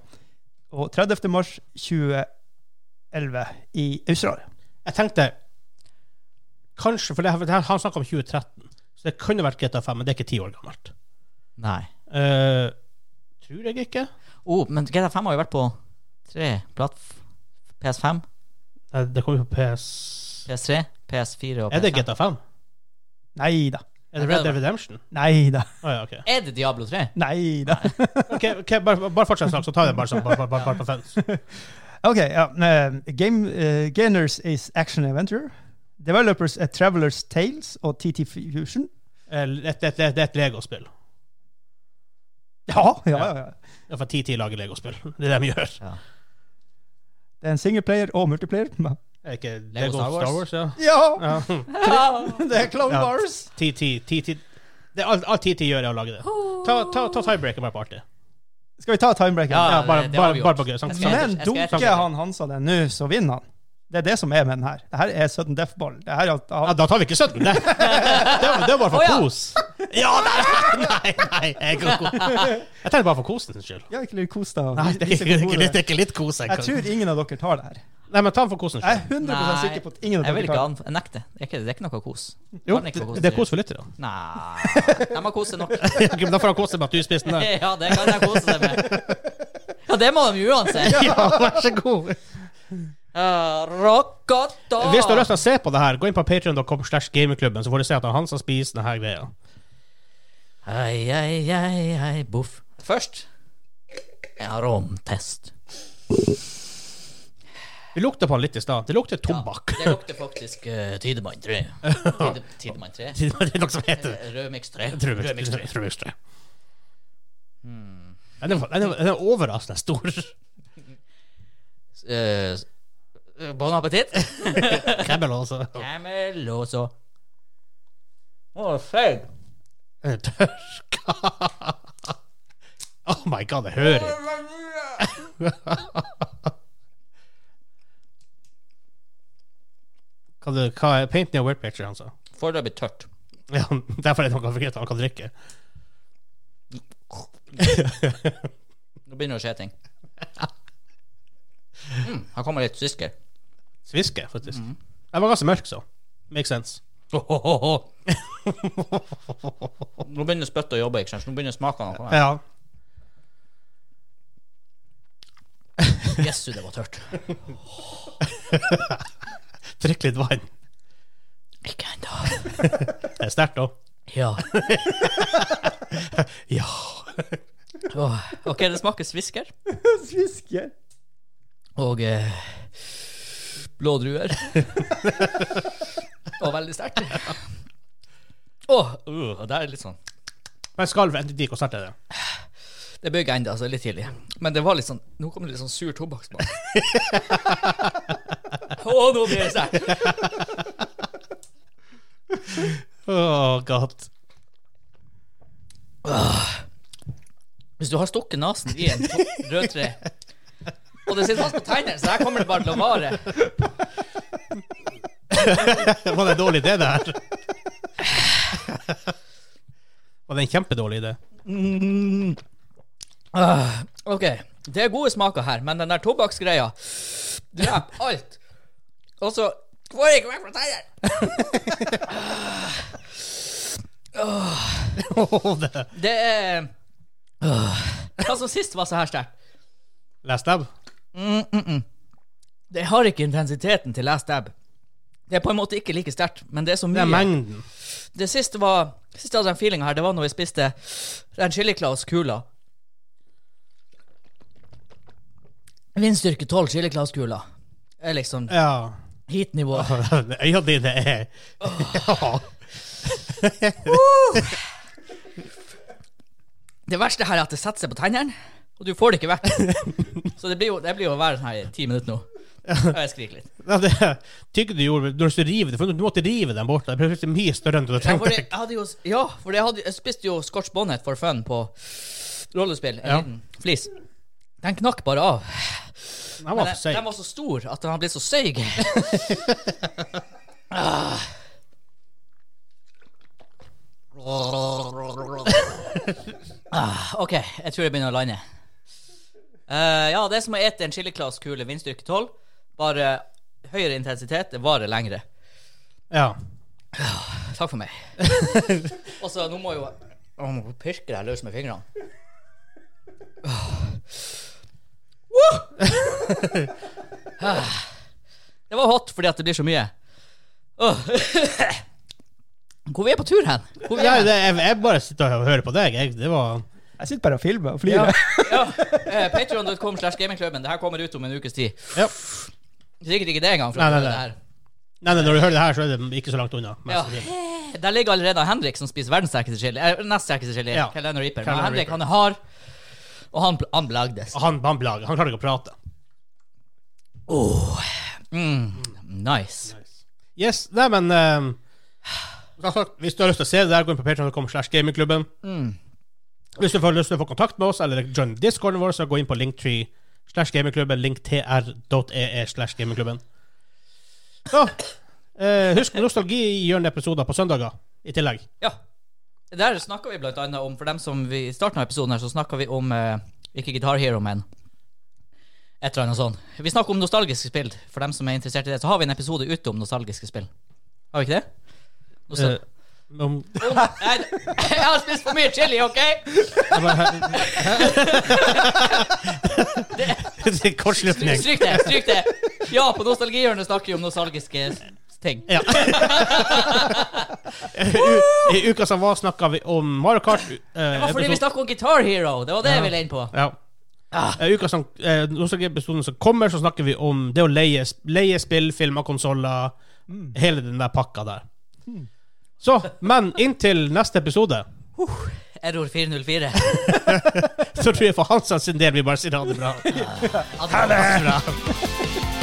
Og 30. mars 2011 i Australia.
Jeg tenkte Kanskje, for det her, det her, han snakka om 2013, så det kunne vært GTA 5, men det er ikke ti år gammelt.
Nei.
Eh, tror jeg ikke.
Oh, men GTA5 har jo vært på tre plattf... PS5,
Nei, det kommer jo på PS...
PS3, PS4 og PS5.
Er det GTA 5?
Nei da.
Er det Red Dead Redemption?
Nei da.
Å ja, OK.
Er det Diablo 3?
Nei da.
Ok, ok, bare, bare fortsett snakk, så tar jeg det bare sånn. Bare, bare, bare på fans.
OK. ja. eh, Game, eh, Gainers is action adventure. Developers er Travelers Tales og TT Fusion.
Eh, Det, det, det, det er et Lego-spill.
Ja, ja, ja. ja.
Det er for TT lager Lego-spill. Det er det de gjør.
Ja.
Det er en singleplayer og multiplayer.
Er ikke Lego,
Lego Star
Star
Wars?
Wars? ja.
Ja!
ja.
Det er Clone
Ja.
Wars.
TT, TT det, er alt, alt TT gjør, er å lage det. Ta, ta, ta tiebreaker bare på artig.
Skal vi ta timebreaker?
Ja,
Ja, bare,
det- det har
bare,
vi
bare
gjort.
på gøy. Samt,
Jeg skal-
samt.
jeg
Men
skal- jeg skal-
dunker han Hansa den nå, så vinner han. Det er det som er med den her. Det her er sudden death-ball. Det her er at
Ja,
han,
da tar vi ikke 17. Det, det, var- det var bare for
Å, ja.
kos. Ja, nei, nei, nei. Jeg, kan ko- jeg tenkte bare for kosen sin skyld.
ja, ikke litt kos deg. og
Nei, det er
vise
ikke, det er
hvor
ikke,
god du
litt-
er.
det er ikke litt kos. Jeg,
Jeg
kan.
tror ingen av dere tar det her.
Nei, men ta den for kosen
Jeg
sin
er 100 sikker på at ingen av
jeg vil
dere
ikke
tar det.
an... Jeg nekter. Det er ikke, det er ikke noe kos.
Jo,
Kan ikke
det,
få kos
det er
til.
kos for lytterne.
Nei, de har kost seg nok.
Ok, men Da får han kose med at du spiste den der.
Ja, det kan de kose seg med. Ja, det må de jo uansett.
Ja, vær så god.
Uh, Rockata!
Hvis du har lyst til å se på det her, gå inn på patreon.com slash gamingklubben, så får du se at han som spiser denne greia.
Hei, hei, hei, hei, boff. Først en aromtest.
Vi lukta på han litt i stad. Det lukter tobakk.
Det lukter faktisk uh, Tidemann 3. Tide, tidemann 3.
Det er noe som heter
Rødmix 3. Rødmix 3.
Trømøystre. Den er, den, er, den er overraskende stor.
Eh, bon appétit.
Kremmel også.
Camel og så Å, feig.
Den er Tørka. Oh my god, jeg hører ikke. Hva, du, hva er painting a word picture, han sa?
Foreløpig tørt.
Ja, derfor er det noe forkert han kan drikke.
Nå begynner det å skje ting. Mm, her kommer litt svisker.
Sviske, faktisk. Jeg var ganske mørk, så. Makes sense.
Nå begynner spyttet å jobbe. ikke sant? Nå begynner smakene å komme.
Ja.
Jesu, det var tørt.
Drikk litt vann.
Ikke ennå.
Det er sterkt òg.
Ja.
Ja.
Åh, ok, det smaker svisker
Svisker.
og eh, blå druer. og veldig sterkt. Åh, uh, det er litt sånn
Men skalv endte de konsert er det?
Det bygger ennå, altså. Litt tidlig. Men det var litt sånn Nå kommer det litt sånn sur tobakkssmak. Å, nå blir det sterkt.
Åh, god.
Hvis du har stukket nesen i en to- rød tre, og det sitter fast på tennene, så her kommer det bare til å vare.
Var det en dårlig idé, det her? Var det en kjempedårlig idé?
Mm. Ah, ok, det er gode smaker her, men den der tobakksgreia dreper alt. Altså, Og så får jeg ikke vekk fra tennene!
Åh, det-
Det er Ah. Hva som sist var så her sterkt?
Last dab?
Det har ikke intensiteten til Last Dab. Det er på en måte ikke like sterkt, men det er så
Det
mye.
er mengden.
Det siste var det siste av den feelinga her, det var når jeg spiste den chiliklaus-kula. Vindstyrke 12 chiliklaus-kula er liksom
Ja.
heat-nivået.
Øya dine er Ja.
Det verste her er at det setter seg på tennene, og du får det ikke vekk. Så det blir jo, det blir jo å være sånn her i ti minutter nå. Og jeg skriker litt.
Ja, det tygde du gjorde når du rive det, for du måtte rive den bort. Det er plutselig mye større enn du hadde
Ja, for
tenkt
jeg,
deg.
hadde jo, ja, for jeg, hadde, jeg spiste jo Scotch Bonnet for fun på rollespill. En
Ja.
liten flis. Den knakk bare av.
Den var for
Men den, den
seig.
var så stor at den har blitt så seig. Ah, OK, jeg tror jeg begynner å lande. Eh, ja, det er som å ete en chiliklaskule vindstyrke 12, bare høyere intensitet, det varer lengre.
Ja.
Takk for meg. Og så nå må jo Å, nå pirker jeg løs med fingrene. Woo! Ah. Det var hot fordi at det blir så mye. Åh. Hvor vi er på tur hen? Hvor vi
ja
er hen?
det, jeg, jeg bare sitter og hører på deg. Jeg, det var
Jeg sitter bare og filmer og flirer.
Ja. Eh, Patreon.com slash gamingklubben. Det her kommer ut om en ukes tid.
ja.
Sikkert ikke det engang. for
Nei,
å
nei,
prøve
nei.
det her.
Nei, nei, når du hører det her, så er det ikke så langt unna. mest
Ja. Eh,
sannsynlig.
Der ligger allerede Henrik, som spiser verdens sterkeste chili. Eh, nest sterkeste chili.
Ja.
Carolina Reaper. Men
Carolina
Henrik,
Reaper.
han er hard, og han, han blagdes.
Han, han blager. Han klarer ikke å prate.
Åh. Mm. Nice.
Yes, nei, men ehm, som sagt, Hvis du har lyst til å se det der, gå inn på patreon.com slash gamingklubben.
Mm.
Hvis du får lyst til å få kontakt med oss, eller join discorden vår, så gå inn på linktree slash gamingklubben, linktr.ee slash gamingklubben. Så, eh, husk nostalgi gjør episoder på søndager i tillegg.
Ja. Der snakka vi blant annet om For dem som vi I starten av episoden her så snakka vi om eh, Ikke Guitar Hero, men et eller annet sånt. Vi snakker om nostalgiske spill. For dem som er interessert i det, så har vi en episode ute om nostalgiske spill. Har vi ikke det? Nostal
Eh, om,
Om- Nei, jeg har spist for mye chili, OK?
jeg bare- Det er
Stryk,
Kortslutning.
stryk det. stryk det Ja, på Nostalgihjørnet snakker vi om nostalgiske s- ting.
Ja. I, I uka som var, snakka vi om Mario Kart. eh,
Det var fordi
episode-
vi snakker om Guitar Hero. Det var det jeg ville inn på.
Ja. Eh, uka som, eh, nostalgiepisoden som kommer, så snakker vi om det å leie, leie spill, filmer, konsoller. Hele den der pakka der. Så, men inntil neste episode,
Error 404.
så tror jeg for Hansa sin del vi bare sier ha det bra.
Ha det!
Bra.